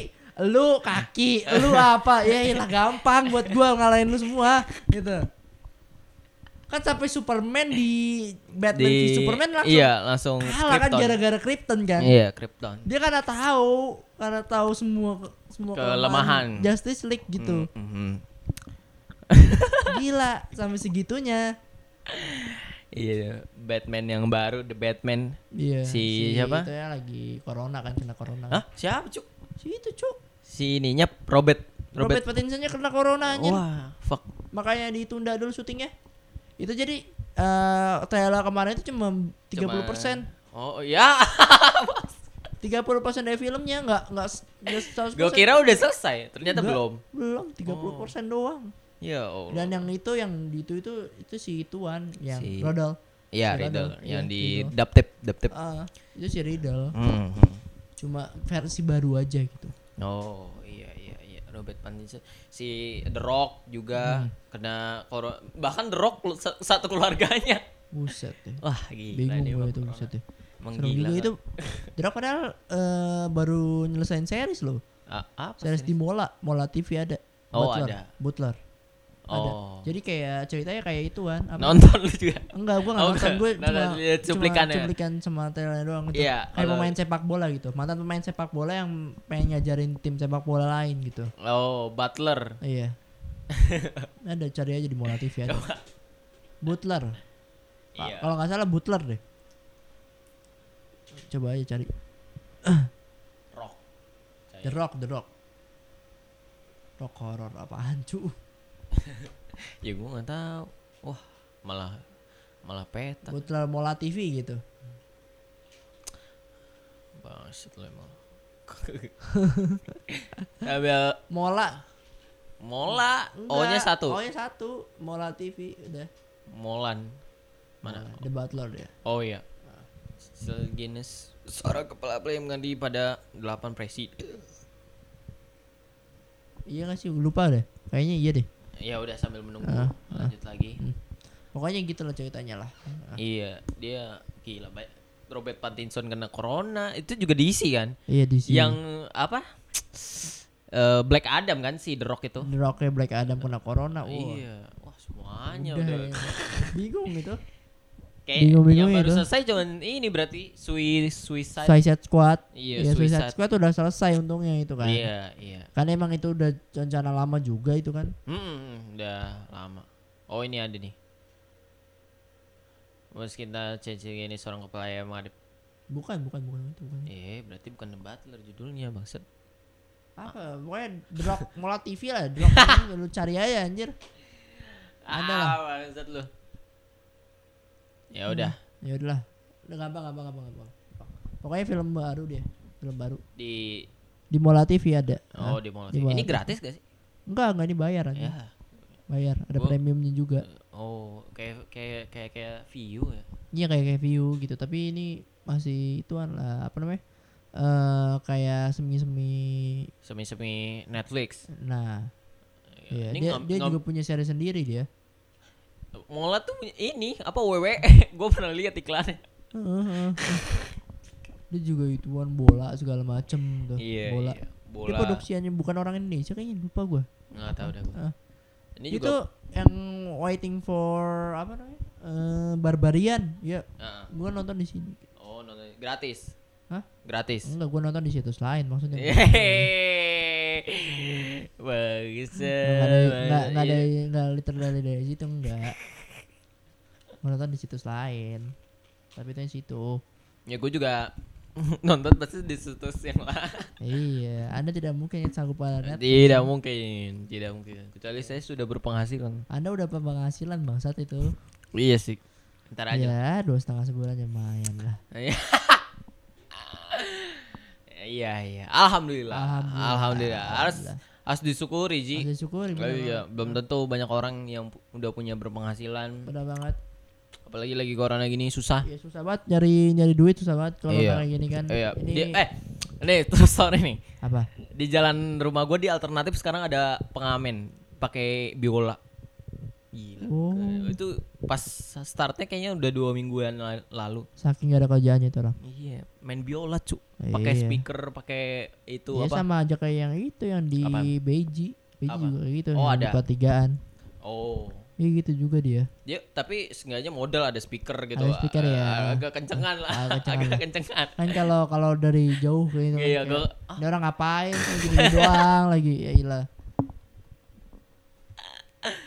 S2: lu kaki lu apa ya iyalah gampang buat gua ngalahin lu semua gitu kan sampai Superman di Batman di, Superman langsung
S1: iya langsung
S2: kalah kan
S1: Krypton.
S2: gara-gara Krypton kan
S1: iya Krypton
S2: dia karena tahu karena tahu semua semua
S1: Kelemahan.
S2: Justice League gitu
S1: Mm, mhm. Hmm.
S2: gila sampai segitunya
S1: iya Batman yang baru The Batman
S2: iya
S1: Si siapa?
S2: itunya lagi corona kan kena corona
S1: Hah? siapa cuk
S2: si itu cuk
S1: si ininya Robert Robert,
S2: Robert, Pattinsonnya kena corona anjir
S1: wah fuck
S2: makanya ditunda dulu syutingnya itu jadi eh Tela kemarin itu cuma 30%
S1: Cuma-
S2: persen
S1: oh ya
S2: 30% dari filmnya nggak nggak s- nggak 100%.
S1: gue Eh, kira
S2: kan
S1: udah selesai ternyata
S2: Nggak,
S1: belum Oh.
S2: belum 30% doang
S1: ya Allah
S2: Iya, dan yang itu yang di itu itu itu si tuan yang
S1: Si-
S2: Rodol
S1: Iya,
S2: si
S1: Riddle
S2: Riddle.
S1: yang
S2: Iya,
S1: di
S2: Riddle.
S1: daptep daptep.
S2: Ah, itu si Riddle.
S1: Hmm.
S2: Cuma versi baru aja gitu.
S1: Oh iya iya iya Robert Pattinson si The Rock juga
S2: Hmm.
S1: kena corona bahkan The Rock lu- sa- satu keluarganya
S2: Buset deh.
S1: wah Oh, gila
S2: Bingung
S1: dia
S2: gue
S1: sama
S2: itu
S1: corona.
S2: buset deh.
S1: Emang
S2: Serem
S1: gila
S2: juga
S1: kan?
S2: itu. Drop padahal eh, baru nyelesain series loh.
S1: A- Ah, apa
S2: Series
S1: sih?
S2: di Mola, Mola TV ada.
S1: Oh,
S2: Butler.
S1: ada.
S2: Butler. Ada.
S1: oh
S2: Jadi kayak ceritanya kayak ituan. Apa?
S1: nonton lu juga
S2: Enggak, gue nggak
S1: Oh,
S2: nonton. Gue
S1: nonton,
S2: cuma,
S1: lihat
S2: cuma
S1: cuplikannya.
S2: cuplikan sama trailernya doang gitu.
S1: Iya,
S2: kayak
S1: kalau-
S2: pemain sepak bola gitu. Mantan pemain sepak bola yang pengen ngajarin tim sepak bola lain gitu.
S1: oh Butler
S2: Iya. ada cari aja di Mola TV ada. Butler. Pak,
S1: Iya.
S2: Kalau nggak salah Butler deh. Coba aja cari
S1: Rock Iya.
S2: The Rock, The Rock. Rock horror apaan cu?
S1: ya gue nggak tahu wah malah malah peta
S2: Butler Mola TV gitu.
S1: bangset lu emang ambil
S2: Mola.
S1: mola o nya
S2: Enggak,
S1: satu
S2: O-nya satu. Mola TV udah.
S1: molan mana
S2: Mola, The Butler ya. dia.
S1: Oh iya. Sel Guinness seorang kepala pria mengganti pada 8 presiden.
S2: Iya nggak sih lupa deh. Kayaknya iya deh.
S1: Ya udah sambil menunggu
S2: Ah,
S1: lanjut lagi.
S2: Pokoknya gitu loh ceritanya lah.
S1: Iya, dia gila baik. Robert Pattinson kena corona itu juga diisi kan.
S2: Iya di sini.
S1: Yang apa? Eh, Black Adam kan si The Rock itu.
S2: The Rocknya Black Adam kena corona. Ah, Wah.
S1: Iya. Wah, semuanya
S2: Udah,
S1: udah.
S2: ya. bingung itu.
S1: Kayak
S2: Bingung-bingung
S1: yang baru
S2: itu.
S1: selesai cuman ini berarti sui suicide.
S2: Suicide Squad.
S1: Iya,
S2: Ya, Suicide
S1: Suicide.
S2: Squad udah selesai untungnya itu kan.
S1: Iya, iya.
S2: Karena emang itu udah rencana lama juga itu kan.
S1: Hmm, udah lama. Oh ini ada nih. Meski kita cincin ini seorang kepala yang mengadep.
S2: Bukan, bukan, bukan itu bukan.
S1: Eh, berarti bukan The Butler judulnya bangset.
S2: Apa? Pokoknya drop mola TV lah, drop ini lu cari aja anjir. Ada lah.
S1: Ah, bangset lu. Ya udah,
S2: Ya Hmm. udahlah. Udah gampang, gampang, gampang, gampang. Pokoknya film baru dia, film baru.
S1: di
S2: Di Mola TV ada.
S1: Oh,
S2: Nah,
S1: di Mola
S2: di
S1: TV.
S2: Mola
S1: Ini
S2: TV.
S1: gratis gak sih?
S2: Enggak, enggak ini bayar aja.
S1: Ya.
S2: Bayar, ada
S1: Gua-
S2: premiumnya juga.
S1: Oh, kayak kayak kayak kayak view ya.
S2: Iya kayak kayak view gitu, tapi ini masih ituan lah apa namanya? Eh kayak semi-semi
S1: Semi-semi Netflix.
S2: nah iya,
S1: Ini
S2: dia,
S1: ngam-
S2: dia
S1: ngam-
S2: juga punya seri sendiri dia
S1: Mola tuh punya ini apa WW? gue pernah lihat iklannya.
S2: Heeh. dia juga ituan bola segala macem tuh
S1: Iya.
S2: bola.
S1: iya.
S2: dia
S1: Bola.
S2: produksiannya bukan orang Indonesia kayaknya lupa gua
S1: Nggak tahu dah gua.
S2: Ah.
S1: Ini
S2: itu
S1: juga.
S2: yang waiting for apa namanya Eh, barbarian ya
S1: Ah, ah.
S2: gua nonton di sini
S1: Oh, nonton gratis.
S2: Hah?
S1: Gratis.
S2: enggak gua nonton di situs lain maksudnya
S1: Iya, Yeay. Bagus.
S2: Enggak ada enggak enggak ada
S1: Iya.
S2: enggak literally dari situ enggak. Menonton di situs lain. Tapi itu yang situ.
S1: Ya gue juga nonton pasti di situs yang lah.
S2: Iya, Anda tidak mungkin yang sanggup pada net.
S1: Tidak mungkin, tidak mungkin. Kecuali saya sudah berpenghasilan.
S2: Anda udah apa penghasilan bangsat itu?
S1: Iya sih. Ntar aja.
S2: Ya, dua setengah sebulan ya lumayan lah.
S1: Iya iya. Alhamdulillah.
S2: Alhamdulillah.
S1: Alhamdulillah. Harus harus disyukuri Ji.
S2: Masih syukur
S1: Tapi ya, belum tentu banyak orang yang pu- udah punya berpenghasilan.
S2: Udah banget.
S1: Apalagi lagi corona gini susah.
S2: Ya susah banget nyari nyari duit susah banget kalau
S1: Iya.
S2: kayak gini kan.
S1: Iya.
S2: Ini
S1: Dia- eh, nih terus sorry nih.
S2: apa?
S1: Di jalan rumah gue di alternatif sekarang ada pengamen pakai biola. Gila.
S2: Oh.
S1: Itu pas startnya kayaknya udah dua mingguan la- lalu.
S2: Saking gak ada kerjaannya itu orang.
S1: Iya, main biola cu. Pakai
S2: Iya.
S1: speaker, pakai itu
S2: ya
S1: apa?
S2: sama aja kayak yang itu yang di
S1: Apaan?
S2: Beiji. Beiji
S1: Apa?
S2: juga kayak gitu
S1: Oh,
S2: yang di
S1: ada.
S2: pertigaan.
S1: Oh.
S2: Iya gitu juga dia.
S1: Dia tapi seenggaknya modal ada speaker gitu.
S2: Ada speaker ya.
S1: Ah, Agak kencengan lah.
S2: Ah, kencengan
S1: Agak
S2: lah.
S1: kencengan.
S2: kan kalau kalau dari jauh kayak gitu kan,
S1: Iya,
S2: kayak,
S1: gua-
S2: ini orang ngapain gitu doang lagi ya ilah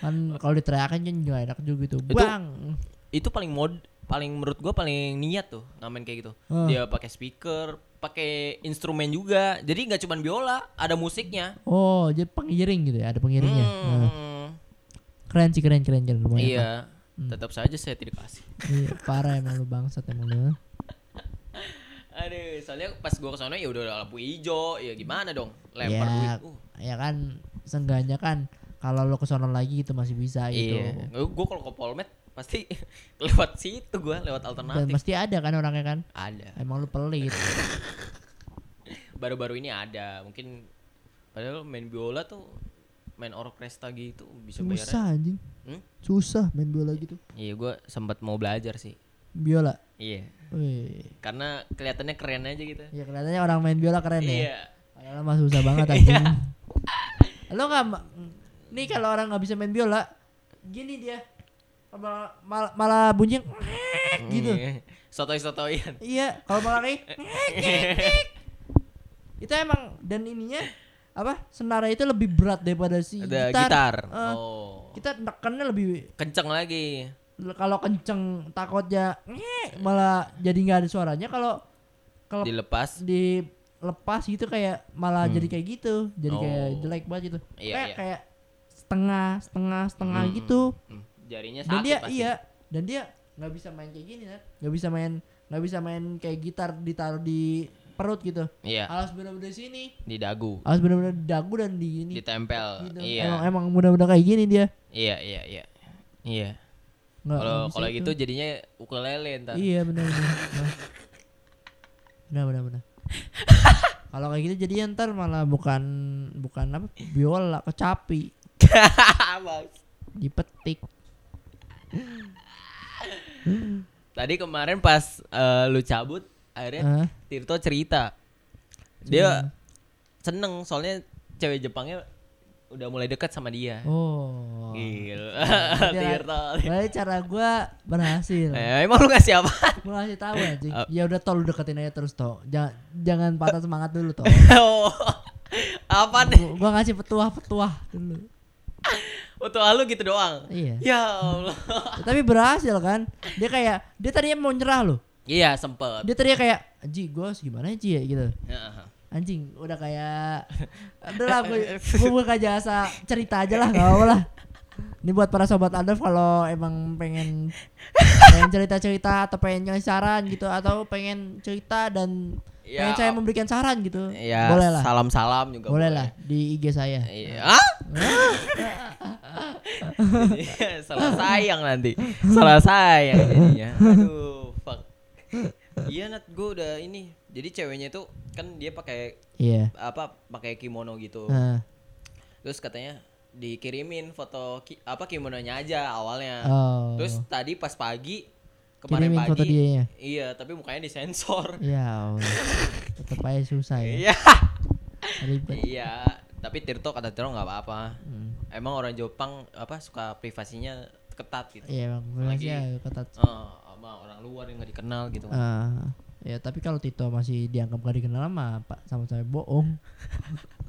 S2: kan kalau diteriakin kan juga enak juga gitu
S1: Itu-
S2: bang
S1: Itu paling mod paling menurut gua paling niat tuh ngamen kayak gitu.
S2: Ah.
S1: Dia pakai speaker, pakai instrumen juga. Jadi nggak cuman biola, ada musiknya.
S2: oh jadi pengiring gitu ya ada pengiringnya
S1: Hmm,
S2: Nah, keren sih keren keren keren lumayan
S1: Iya.
S2: Hmm.
S1: Tetap saja saya tidak kasih.
S2: Iya, parah emang lu bangsat emang lu
S1: Aduh, soalnya pas gua kesana ya udah ada lampu hijau, ya gimana dong? Lempar
S2: ya,
S1: duit. Uh,
S2: ya kan seenggaknya kan kalau lo kesono lagi itu masih bisa gitu
S1: iya. Gua kalau ke Polmed pasti lewat situ gua, lewat
S2: dan
S1: alternatif.
S2: mesti ada kan orangnya kan
S1: Ada.
S2: emang lu pelit
S1: ya, baru-baru ini ada mungkin padahal main biola tuh main orkestra gitu bisa bayar
S2: susah anjing
S1: Hmm?
S2: susah main biola gitu
S1: iya gue sempat mau belajar sih
S2: biola
S1: iya
S2: Wih.
S1: karena kelihatannya keren aja gitu
S2: Ya kelihatannya orang main biola keren ya.
S1: iya
S2: Padahal mah susah banget anjing. Lo nggak ma- Nih kalau orang nggak bisa main biola, gini dia. Mal- mal- malah bunyi
S1: Hmm.
S2: gitu.
S1: Iya. sotoy sotoyan
S2: Iya, kalau malah
S1: Eh,
S2: kayak itu emang dan ininya apa senara itu lebih berat daripada si
S1: ada
S2: Iya, gitar.
S1: gitar
S2: Eh,
S1: oh
S2: Kita nekannya lebih
S1: kenceng lagi
S2: kalau kenceng takutnya malah jadi nggak ada suaranya kalau kalau
S1: dilepas
S2: dilepas gitu kayak malah jadi kayak gitu jadi kayak
S1: Hmm. Oh.
S2: jelek banget gitu
S1: Iya,
S2: kayak
S1: iya.
S2: kayak setengah setengah setengah
S1: Hmm,
S2: gitu
S1: hmm. jarinya
S2: dan
S1: sakit
S2: dia
S1: pasti.
S2: iya dan dia nggak bisa main kayak gini Nat. nggak bisa main nggak bisa main kayak gitar ditaruh di perut gitu
S1: iya
S2: harus bener-bener di sini
S1: di dagu
S2: harus bener-bener di dagu dan di ini
S1: ditempel
S2: gitu. emang
S1: iya
S2: emang bener-bener kayak gini dia
S1: iya iya iya iya
S2: Nggak- nggak
S1: kalau
S2: bisa
S1: kalau
S2: itu.
S1: gitu jadinya ukulele ntar
S2: iya bener-bener Nah. bener bener bener kalau kayak gitu jadi ntar malah bukan bukan apa biola kecapi
S1: Bagus.
S2: dipetik
S1: Tadi kemarin pas eh, lu cabut, akhirnya
S2: Hah?
S1: Tirto cerita. Dia seneng soalnya cewek Jepangnya udah mulai dekat sama dia.
S2: oh
S1: Iya.
S2: iya,
S1: Gila.
S2: Berarti-
S1: Tirto.
S2: Berarti cara gua berhasil
S1: Eh, emang lu ngasih apa?
S2: Gua ngasih tahu anjing
S1: Ap-
S2: ya udah tol lu deketin aja terus toh jangan jangan patah semangat dulu toh
S1: oh. Apa nih?
S2: Gua- gua ngasih petuah-petuah dulu
S1: Untuk lu gitu doang.
S2: Iya.
S1: Ya Allah.
S2: tapi berhasil kan dia kayak dia tadinya mau nyerah loh
S1: iya, sempet.
S2: dia tadinya kayak Ji gue harus gimana Ji ya gitu
S1: Heeh.
S2: anjing udah kayak udah lah gue gue buka jasa cerita aja lah gak apa-apa lah ini buat para sobat anda kalau emang pengen pengen cerita cerita atau pengen nyari saran gitu atau pengen cerita dan pengen saya memberikan saran gitu
S1: ya,
S2: boleh lah
S1: Salam-salam juga
S2: boleh lah di IG saya
S1: Iya. Ah? salah sayang nanti. Salah sayang jadinya. Aduh, fuck. Iya Nat, gue udah ini. Jadi ceweknya itu kan dia pakai
S2: iya
S1: apa? Pakai kimono gitu.
S2: Nah,
S1: Terus katanya dikirimin foto ki- apa kimononya aja awalnya.
S2: Oh.
S1: Terus tadi pas pagi kemarin
S2: Kirimin
S1: pagi.
S2: foto dianya.
S1: Iya, tapi mukanya disensor.
S2: ya Allah. tetap aja susah ya
S1: Iya.
S2: ribet
S1: Iya, tapi Tirto kata Tirto nggak apa-apa.
S2: Hmm.
S1: Emang orang Jepang apa suka privasinya ketat gitu.
S2: iya bang makasih ya ketat
S1: Eh, sama orang luar yang nggak dikenal gitu.
S2: Ah, ya tapi kalau Tito masih dianggap gak dikenal sama Pak sama saya bohong.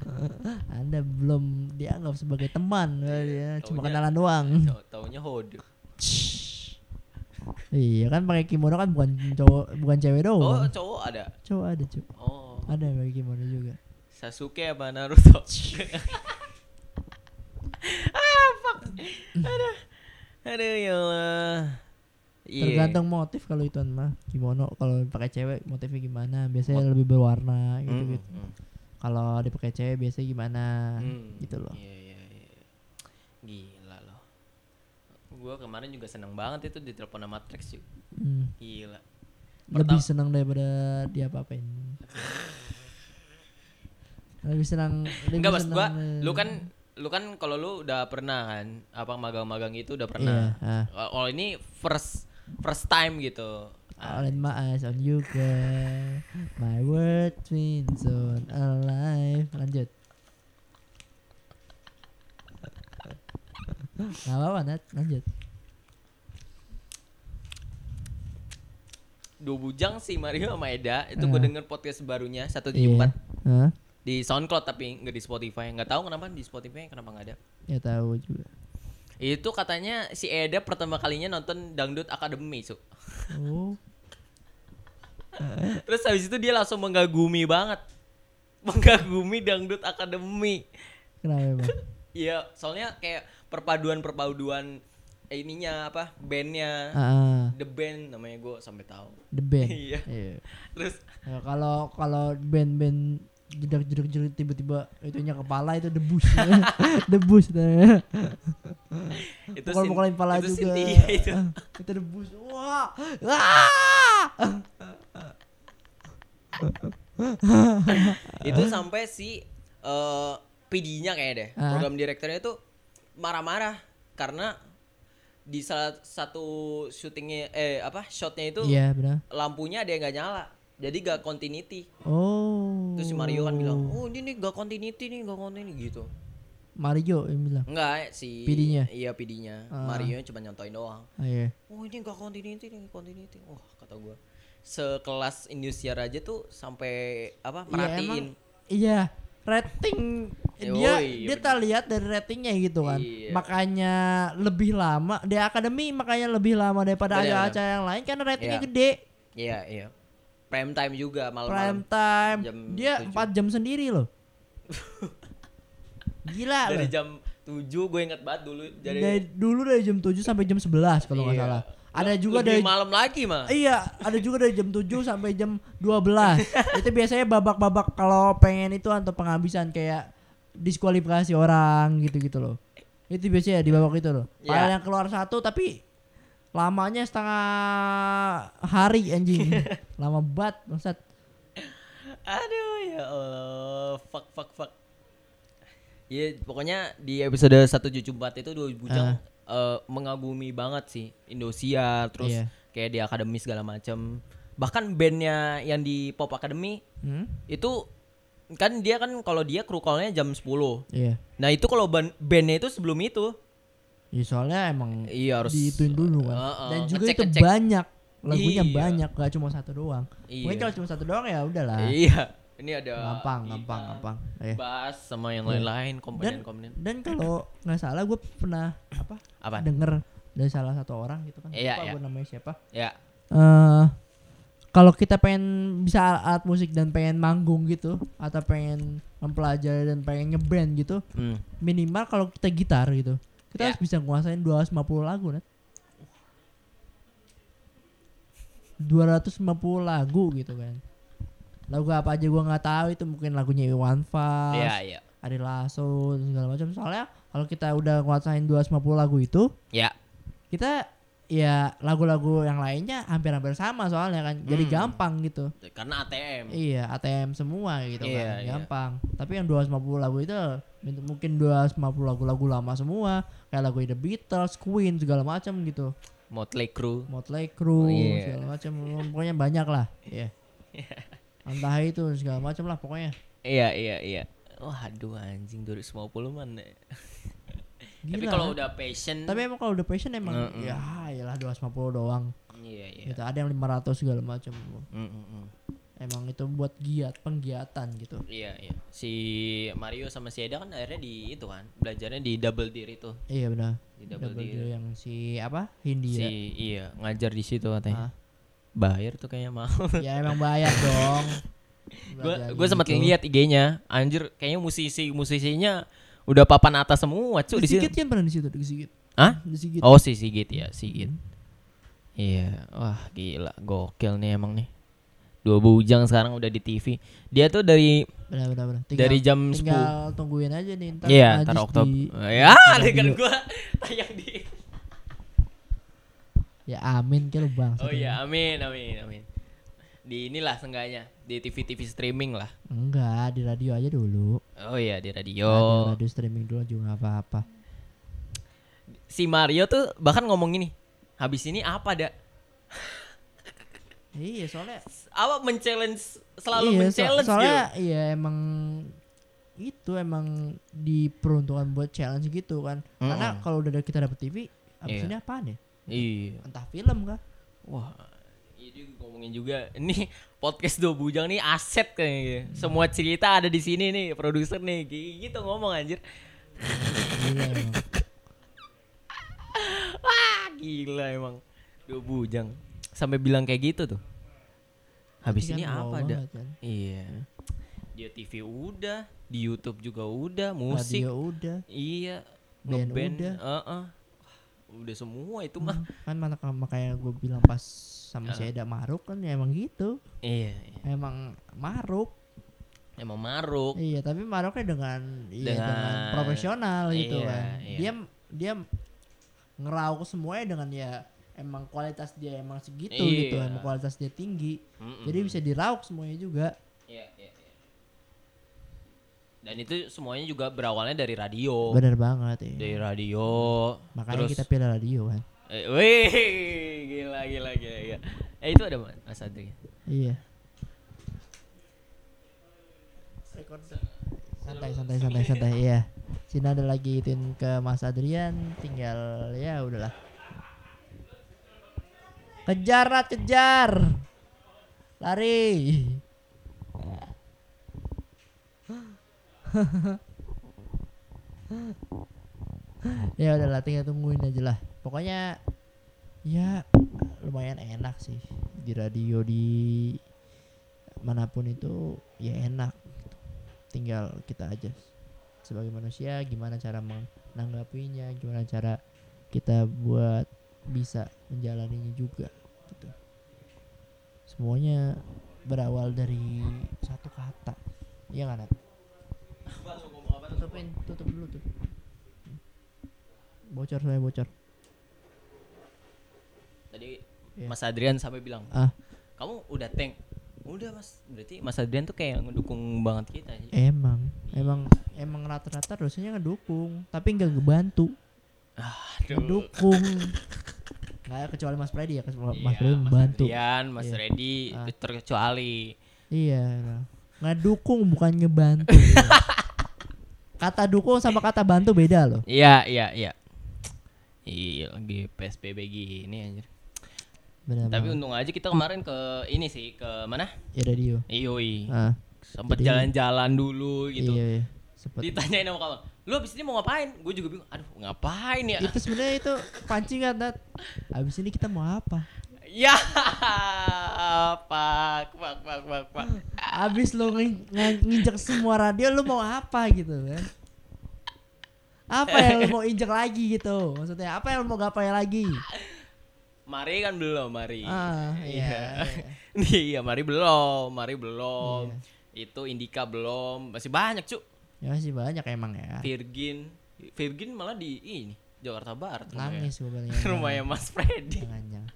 S2: Anda belum dianggap sebagai teman,
S1: Iya.
S2: ya, cuma
S1: taunya-
S2: kenalan doang.
S1: Tau- Taunya hode.
S2: iya kan pakai kimono kan bukan cowok bukan cewek
S1: Oh,
S2: doang.
S1: cowok ada.
S2: Cowok ada cowok.
S1: Oh,
S2: Ada yang pakai kimono juga.
S1: Sasuke apa Naruto? ah, fuck. Aduh. Aduh ya Allah. Iya.
S2: Tergantung motif kalau itu mah kimono kalau pakai cewek motifnya gimana? Biasanya lebih
S1: Hmm,
S2: berwarna gitu gitu.
S1: hmm,
S2: Kalau dipakai cewek biasanya gimana?
S1: hmm.
S2: Gitu loh.
S1: Iya, iya, iya. Gila loh. Gua kemarin juga seneng banget itu ditelepon sama Matrix yuk.
S2: Hmm.
S1: Gila.
S2: lebih senang daripada dia apa-apain lebih senang lebih
S1: Enggak maksud
S2: senang,
S1: gua,
S2: eh,
S1: lu kan lu kan kalau lu udah pernah kan apa magang-magang itu udah
S2: iya
S1: pernah.
S2: ah.
S1: Kalau kalau ini first first time gitu. Ah,
S2: All in my eyes on you girl My world twins on alive Lanjut Gak apa-apa Nat Lanjut
S1: Dua bujang si Mario sama Eda itu
S2: Iya.
S1: gue denger podcast barunya satu
S2: Iya.
S1: di empat
S2: Hah?
S1: di SoundCloud tapi nggak di Spotify. Nggak tahu kenapa di Spotify kenapa nggak ada.
S2: Ya tahu juga
S1: Itu katanya si Eda pertama kalinya nonton Dangdut Academy, Su.
S2: Oh
S1: Terus habis itu dia langsung menggagumi banget. Menggagumi Dangdut Academy.
S2: Kenapa emang
S1: Iya, soalnya kayak perpaduan-perpaduan ininya apa bandnya
S2: Ah, ah,
S1: the band namanya gue sampai tahu
S2: The band
S1: Iya.
S2: Iya.
S1: terus
S2: Ya, kalau kalau band-band jedak jedak jedak tiba-tiba itunya kepala itu debus debus
S1: itu
S2: pukul
S1: sin-
S2: pukulin Nah. kepala
S1: itu
S2: juga
S1: Cynthia itu
S2: Ah, itu debus wah ah!
S1: itu sampai si eh PD-nya kayak deh
S2: Ah.
S1: program direkturnya itu marah-marah karena di salah satu syutingnya eh apa shotnya itu
S2: iya benar
S1: lampunya ada yang nggak nyala jadi gak continuity
S2: oh
S1: terus si Mario kan bilang oh ini nih gak continuity nih gak continuity gitu
S2: Mario yang bilang
S1: Enggak si
S2: PD-nya?
S1: Iya PD-nya.
S2: Ah.
S1: Mario cuma nyontoin doang.
S2: ah, iya
S1: Oh ini enggak continuity nih, continuity. Wah, kata gua. Sekelas Indosiar aja tuh sampai apa merhatiin.
S2: iya rating
S1: Eh,
S2: dia
S1: woi,
S2: dia tak lihat dari ratingnya gitu kan
S1: Iya.
S2: makanya lebih lama di akademi makanya lebih lama daripada
S1: Benar,
S2: acara-acara yang lain karena ratingnya
S1: Iya.
S2: gede
S1: Iya, iya. Prime time juga
S2: prime
S1: malam-malam.
S2: time
S1: Jam
S2: dia
S1: tujuh.
S2: 4 jam sendiri loh gila
S1: Dari
S2: loh
S1: jam 7 gue inget banget dulu
S2: dari,
S1: dari
S2: dulu dari jam 7 sampai jam 11 kalau nggak
S1: Iya.
S2: salah ada
S1: Le-
S2: juga
S1: lebih
S2: dari
S1: malam lagi mah.
S2: Iya, ada juga dari jam 7 sampai jam 12. itu biasanya babak-babak kalau pengen itu atau penghabisan kayak diskualifikasi orang gitu-gitu loh. Itu biasanya di babak itu loh.
S1: Iya.
S2: Padahal yang keluar satu tapi lamanya setengah hari anjing. Lama banget, maksud
S1: Aduh ya Allah, fuck fuck fuck. Ya pokoknya di episode 174 itu dua bujang eh, mengagumi banget sih Indosiar terus
S2: Ah. Iya.
S1: kayak di akademi segala macam. Bahkan bandnya yang di Pop Academy
S2: Hmm?
S1: itu kan dia kan kalau dia kru call-nya jam 10.
S2: Iya.
S1: Nah, itu kalau ban- bandnya itu sebelum itu.
S2: Ya soalnya emang
S1: Iya, harus-
S2: diituin dulu kan.
S1: Heeh,
S2: Dan juga
S1: ngecek-
S2: itu
S1: ngecek.
S2: banyak lagunya
S1: Iya.
S2: banyak gak cuma satu doang.
S1: Iya.
S2: Mungkin kalau cuma satu doang ya udahlah.
S1: Iya. Ini ada
S2: Gampang,
S1: Ida,
S2: gampang, gampang. Iya.
S1: Bas sama yang
S2: Iya.
S1: lain-lain
S2: dan
S1: komponen-komponen.
S2: dan kalau nggak salah gue pernah apa
S1: Apa?
S2: denger dari salah satu orang gitu kan
S1: Iya,
S2: lupa
S1: iya.
S2: gue namanya siapa
S1: Ya.
S2: eh kalau kita pengen bisa al- alat musik dan pengen manggung gitu atau pengen mempelajari dan pengen ngeband gitu
S1: Hmm.
S2: minimal kalau kita gitar gitu kita
S1: Iya.
S2: harus bisa nguasain 250 lagu net 250 lagu gitu kan lagu apa aja gua nggak tahu itu mungkin lagunya Iwan Fals
S1: Iya, iya.
S2: Ari Lasso dan segala macam soalnya kalau kita udah nguasain 250 lagu itu
S1: Ya.
S2: kita ya lagu-lagu yang lainnya hampir-hampir sama soalnya kan jadi
S1: Hmm.
S2: gampang gitu
S1: Karena ATM.
S2: iya ATM semua gitu
S1: Iya,
S2: kan
S1: iya.
S2: gampang tapi yang 250 lagu itu min- mungkin 250 lagu-lagu lama semua kayak lagu The Beatles, Queen segala macam gitu
S1: Motley Crue.
S2: Motley
S1: Oh,
S2: Crue
S1: iya.
S2: segala macam pokoknya banyak lah iya entah itu segala macam lah pokoknya
S1: Iya, iya, iya. Wah, aduh anjing 2050 man. ya. Tapi
S2: Gila,
S1: kalau
S2: kan?
S1: udah passion
S2: tapi emang kalau udah passion emang
S1: Mm-mm.
S2: ya iyalah 250 doang
S1: Iya, Hmm, iya.
S2: gitu ada yang 500 segala macam
S1: Mm, mm, mm.
S2: emang itu buat giat penggiatan gitu
S1: Iya, iya. Si Mario sama si Eda kan akhirnya di itu kan, belajarnya di double deer itu.
S2: iya benar
S1: Di double, deer.
S2: deal yang si apa ya? Hindia
S1: Si iya, ngajar di situ katanya.
S2: Ah.
S1: Bayar tuh kayaknya mahal.
S2: ya emang bayar dong
S1: gue
S2: Belajar
S1: gue sempat
S2: gitu.
S1: lihat IG-nya anjir kayaknya musisi musisinya udah papan atas semua cuy di sini
S2: disigit kan pernah di situ disigit
S1: Hah?
S2: disigit
S1: oh si Sigit ya Sigit iya wah gila gokil nih emang nih dua bujang sekarang udah di TV dia tuh dari
S2: benar benar benar
S1: dari jam
S2: tinggal tungguin aja nih ntar
S1: 10 iya
S2: Najis
S1: ntar Oktober
S2: di-
S1: ya dengan gua tayang di
S2: ya amin kayak lu ya. bang
S1: oh iya amin amin amin di inilah sengganya di TV TV streaming lah
S2: enggak di radio aja dulu
S1: oh iya di
S2: radio,
S1: radio
S2: radio streaming dulu juga nggak apa-apa
S1: si Mario tuh bahkan ngomong gini habis ini apa dak
S2: iya soalnya
S1: apa men-challenge selalu
S2: iya, so-
S1: men-challenge
S2: soalnya
S1: gitu.
S2: iya emang itu emang diperuntukkan buat challenge gitu kan karena
S1: Mm-mm.
S2: kalau udah kita dapet TV abis
S1: Iya.
S2: ini apaan ya
S1: Iya.
S2: entah film kah
S1: Wah. Itu ngomongin juga ini podcast dua bujang nih aset kayaknya. gitu. Semua cerita ada di sini nih produser nih Kayak gitu ngomong anjir. Iya,
S2: Gila emang.
S1: Ah gila emang. Dua bujang sampai bilang kayak gitu tuh. Habis
S2: Tapi
S1: ini
S2: kan wow
S1: apa ada?
S2: banget kan.
S1: Iya. Dia TV udah, di YouTube juga udah, musik.
S2: radio udah
S1: Iya.
S2: Band
S1: Ngeband.
S2: udah.
S1: Udah. udah semua itu mah.
S2: kan maka, makanya gue bilang pas
S1: Ah.
S2: sama si Eda Maruk kan ya emang gitu
S1: Iya, iya.
S2: emang Maruk
S1: Emang maruk.
S2: iya tapi Maruknya dengan iya dengan,
S1: Dengan-
S2: profesional gitu
S1: iya,
S2: kan
S1: iya.
S2: dia dia ngerauk semuanya dengan ya emang kualitas dia emang segitu gitu
S1: Iya. Hmm.
S2: emang kualitas dia tinggi
S1: Mm-mm.
S2: jadi bisa dirauk semuanya juga
S1: Iya, iya, iya. Dan itu semuanya juga berawalnya dari radio.
S2: bener banget ya
S1: Dari radio. Oh.
S2: makanya
S1: Iya. terus,
S2: kita pilih radio kan
S1: eh, wih, gila, gila, gila, gila. Eh itu ada Mas- Mas Adri.
S2: iya santai santai santai santai iya Sini ada lagi ituin ke Mas Adrian tinggal ya udahlah kejar Rat, kejar lari ya udahlah tinggal tungguin aja lah pokoknya ya lumayan enak sih di radio di manapun itu ya enak tinggal kita aja sebagai manusia gimana cara menanggapinya gimana cara kita buat bisa menjalaninya juga gitu semuanya berawal dari satu kata iya kan Nat? tutupin tutup dulu tuh bocor saya bocor
S1: Tadi
S2: Iya.
S1: Mas Adrian sampai bilang,
S2: ah
S1: "Kamu udah tank." Udah, Mas. Berarti Mas Adrian tuh kayak ngedukung banget kita. anjir.
S2: emang emang emang rata-rata dosennya ngedukung tapi nggak ngebantu
S1: Aduh.
S2: ngedukung nggak kecuali Mas Freddy ya Mas
S1: Iya,
S2: Mas Freddy membantu
S1: Adrian, Mas
S2: Iya.
S1: Reddy
S2: Ah.
S1: terkecuali.
S2: Iya. no. Ngedukung bukan ngebantu. ya. kata dukung sama kata bantu beda loh.
S1: Iya, iya, iya. Iya, lagi PSBB gini anjir.
S2: Benar.
S1: Tapi
S2: banget.
S1: untung aja kita kemarin ke ini sih, ke mana?
S2: ya radio.
S1: Iyoi.
S2: Ah,
S1: Sempet
S2: jadi-
S1: jalan-jalan dulu Iya, gitu.
S2: Iya, iya. Seperti
S1: Ditanyain sama kawan, "Lu abis ini mau ngapain?" Gue juga bingung, "Aduh, ngapain ya?"
S2: itu sebenarnya itu pancingan Nat. Abis ini kita mau apa?
S1: ya, pak, pak, pak, pak, pak.
S2: Abis lo ngi- nge- nginjek semua radio lo mau apa gitu kan? Apa yang lo mau injek lagi gitu? Maksudnya apa yang lo mau gapai lagi?
S1: Mari kan belum, mari.
S2: Ah, iya.
S1: Iya,
S2: iya.
S1: mari belum, mari belum. Itu Indika belum, masih banyak, Cuk.
S2: ya sih banyak emang
S1: Iya,
S2: ya
S1: Virgin, Virgin malah di ini Jakarta Barat. rumahnya.
S2: nangis Ah. gue bilang
S1: Rumahnya Mas Freddy.
S2: jangan jangan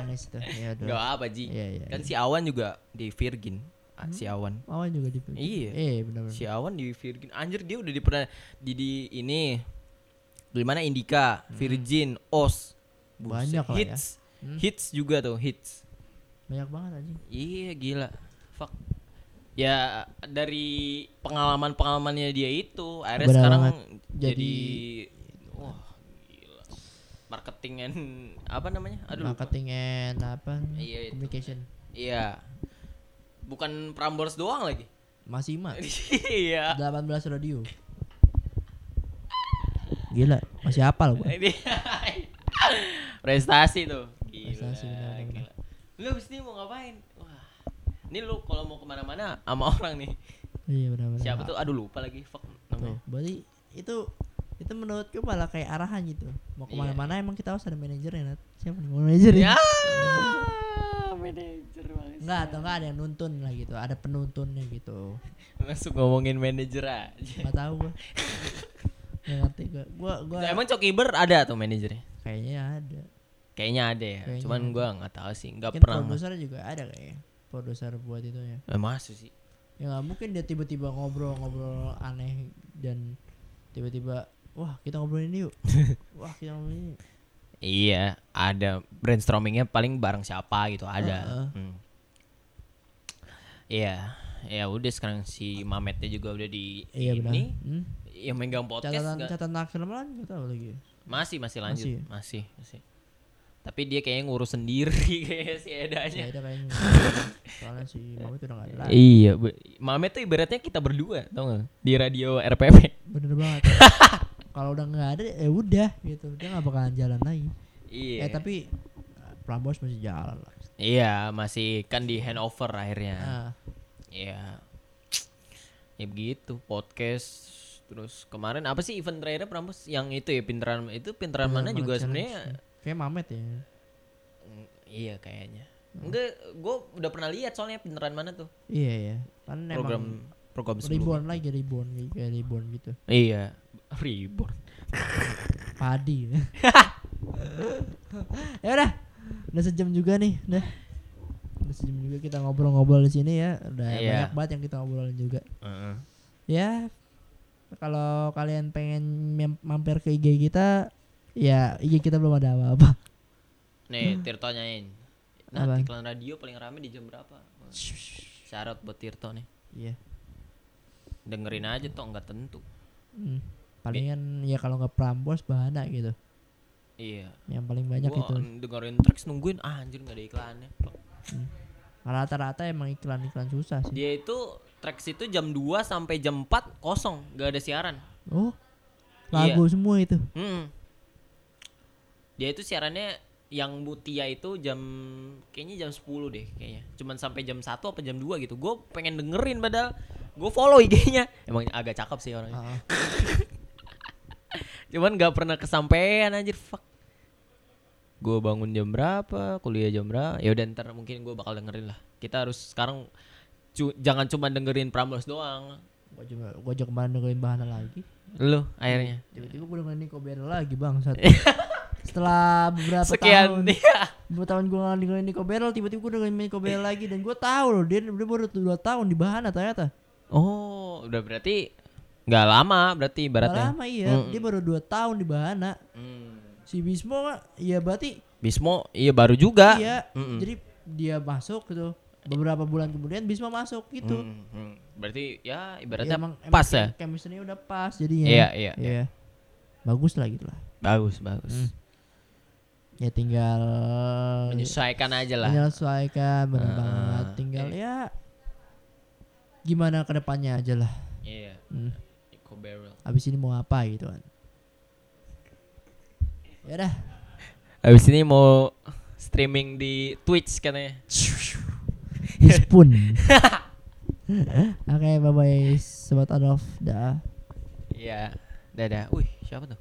S2: nangis tuh ya
S1: Gak
S2: udah
S1: apa, Ji.
S2: Iya, iya, Hmm.
S1: kan si Awan juga di Virgin. Ah, Si Awan.
S2: Awan juga di
S1: Iya.
S2: eh benar benar
S1: Si Awan di Virgin. Anjir dia udah di pernah di, di ini di mana Indika, Virgin, Os. Buset,
S2: Hmm. Banyak lah ya.
S1: hits. Hits juga tuh, hits.
S2: banyak banget anjing
S1: Iya, gila. Fuck. Ya dari pengalaman-pengalamannya dia itu akhirnya
S2: Benar
S1: sekarang
S2: banget.
S1: jadi,
S2: Jadi-
S1: wah gila. Marketing and apa namanya? Aduh. lupa.
S2: marketing and apa
S1: Iya, itu.
S2: communication
S1: Iya. Bukan Prambors doang lagi.
S2: masih mah
S1: Iya.
S2: 18 radio gila masih hafal gue
S1: Ini- prestasi tuh gila,
S2: Prestasi, benar-benar.
S1: gila. lu abis ini mau ngapain wah ini lu kalau mau kemana-mana sama orang nih
S2: iya benar benar
S1: siapa tuh aduh lupa lagi fuck
S2: Tuh,
S1: namanya
S2: berarti itu itu menurutku malah kayak arahan gitu. Mau
S1: Iya.
S2: kemana-mana emang kita harus ada manajernya, Nat. Siapa nih manajernya?
S1: ya manajer banget
S2: Enggak, atau enggak ada yang nuntun lah gitu, ada penuntunnya gitu.
S1: langsung ngomongin manajer aja
S2: Enggak tahu gua. Nggak ngerti gua. Gua gua
S1: emang cokiber ada tuh manajernya
S2: kayaknya ada.
S1: kayaknya ada ya
S2: Kayaknya
S1: cuman gua nggak tahu sih nggak
S2: Mungkin
S1: pernah
S2: produser juga ada kayaknya. Produser buat itu ya.
S1: eh, masuk sih
S2: Ya nggak mungkin dia tiba-tiba ngobrol-ngobrol aneh dan tiba-tiba wah kita ngobrolin ini yuk. wah kita ngobrolin ini.
S1: Iya, ada brainstormingnya paling bareng siapa gitu ada. Hmm. Iya, ya udah sekarang si Mametnya juga udah di
S2: Iya benar.
S1: ini
S2: Hmm?
S1: yang megang podcast
S2: Catatan
S1: nggak-
S2: catatan akhir malam nggak tahu lagi.
S1: masih masih lanjut
S2: Masih ya?
S1: masih masih. Tapi dia kayaknya ngurus sendiri kayaknya si
S2: Ya
S1: Edanya.
S2: ada kayaknya. Soalnya si Mama tuh udah gak ada lagi.
S1: Iya, bu- Mamet tuh ibaratnya kita berdua, tau gak? Di radio RPP.
S2: Bener banget. Kalau udah gak ada ya udah gitu. Dia gak bakalan jalan lagi.
S1: Iya.
S2: Eh tapi eh, Prambors masih jalan lah.
S1: Iya, masih kan di handover akhirnya.
S2: Ah,
S1: Ya. Ya begitu, podcast terus kemarin apa sih event terakhirnya Prambos yang itu ya pinteran itu pinteran mana
S2: Bener banget
S1: juga
S2: Iya, challenge.
S1: sebenarnya
S2: kayak Mamet ya.
S1: Mm, iya kayaknya. Enggak, gue udah pernah lihat soalnya pinteran mana tuh
S2: Iya ya. Kan
S1: program
S2: emang
S1: program sebelumnya.
S2: reborn lagi reborn kayak- kayak reborn gitu.
S1: Iya, reborn.
S2: Padi. ya udah. Udah sejam juga nih. Udah. Udah sejam juga kita ngobrol-ngobrol di sini ya. Udah
S1: Iya.
S2: banyak banget yang kita ngobrolin juga.
S1: Heeh.
S2: ya kalau kalian pengen mem- mampir ke IG kita ya IG kita belum ada apa-apa
S1: Nih, Tirto nyanyiin.
S2: Hmm. Apa?
S1: Nanti iklan radio paling rame di jam berapa? Wah, Syarat buat Tirto nih.
S2: iya
S1: Dengerin aja toh nggak tentu.
S2: hmm. palingan ya kalau nggak Prambors Bahana gitu
S1: Iya.
S2: yang paling banyak
S1: Gua
S2: itu
S1: dengerin tracks nungguin ah, anjir nggak ada iklannya.
S2: rata-rata emang iklan-iklan susah sih
S1: Dia itu tracks itu jam 2 sampai jam 4 kosong, gak ada siaran.
S2: oh lagu semua itu
S1: Hmm. Dia itu siarannya yang Mutia itu jam kayaknya jam 10 deh kayaknya. Cuman sampai jam 1 apa jam 2 gitu. Gue pengen dengerin padahal gue follow IG-nya. Emang agak cakep sih orangnya.
S2: Ah,
S1: Cuman gak pernah kesampaian anjir fuck. Gue bangun jam berapa, kuliah jam berapa. Ya udah ntar mungkin gue bakal dengerin lah. Kita harus sekarang cu- jangan cuma dengerin Prambors doang.
S2: gua coba gua juga kemarin dengerin Bahana lagi
S1: Lu akhirnya.
S2: tiba-tiba gua dengerin Nico Bella lagi bang saat setelah beberapa tahun
S1: Sekian Iya. dia.
S2: Beberapa tahun gue nggak dengerin Nico Barrel, tiba-tiba gue dengerin Nico Barrel lagi dan gue tahu loh dia, dia baru 2 tahun di Bahana ternyata.
S1: Oh, udah berarti nggak lama berarti
S2: Gak
S1: ibaratnya.
S2: lama iya, dia baru 2 tahun di Bahana.
S1: Hmm.
S2: Si Bismo mah, ya berarti
S1: Bismo iya baru juga. Hmm,
S2: iya.
S1: Mm-mm.
S2: Jadi dia masuk gitu. Beberapa bulan kemudian Bismo masuk gitu.
S1: Hmm, hmm. Berarti ya
S2: Ya,
S1: ibaratnya pas ya.
S2: chem- chemistry-nya udah pas jadinya.
S1: Iya, iya,
S2: Bagus lah gitu lah.
S1: Bagus,
S2: Hmm.
S1: bagus.
S2: Ya tinggal
S1: Menyesuaikan aja lah.
S2: Iya. menyelesaikan kan bener
S1: Ah,
S2: banget. Tinggal ya gimana kedepannya aja lah.
S1: Iya.
S2: Hmm.
S1: Eco barrel.
S2: abis ini mau apa gitu kan ya dah
S1: Habis ini mau streaming di Twitch katanya.
S2: spoon oke bye bye sobat Adolf dah
S1: Iya. Dadah. Wih, siapa tuh?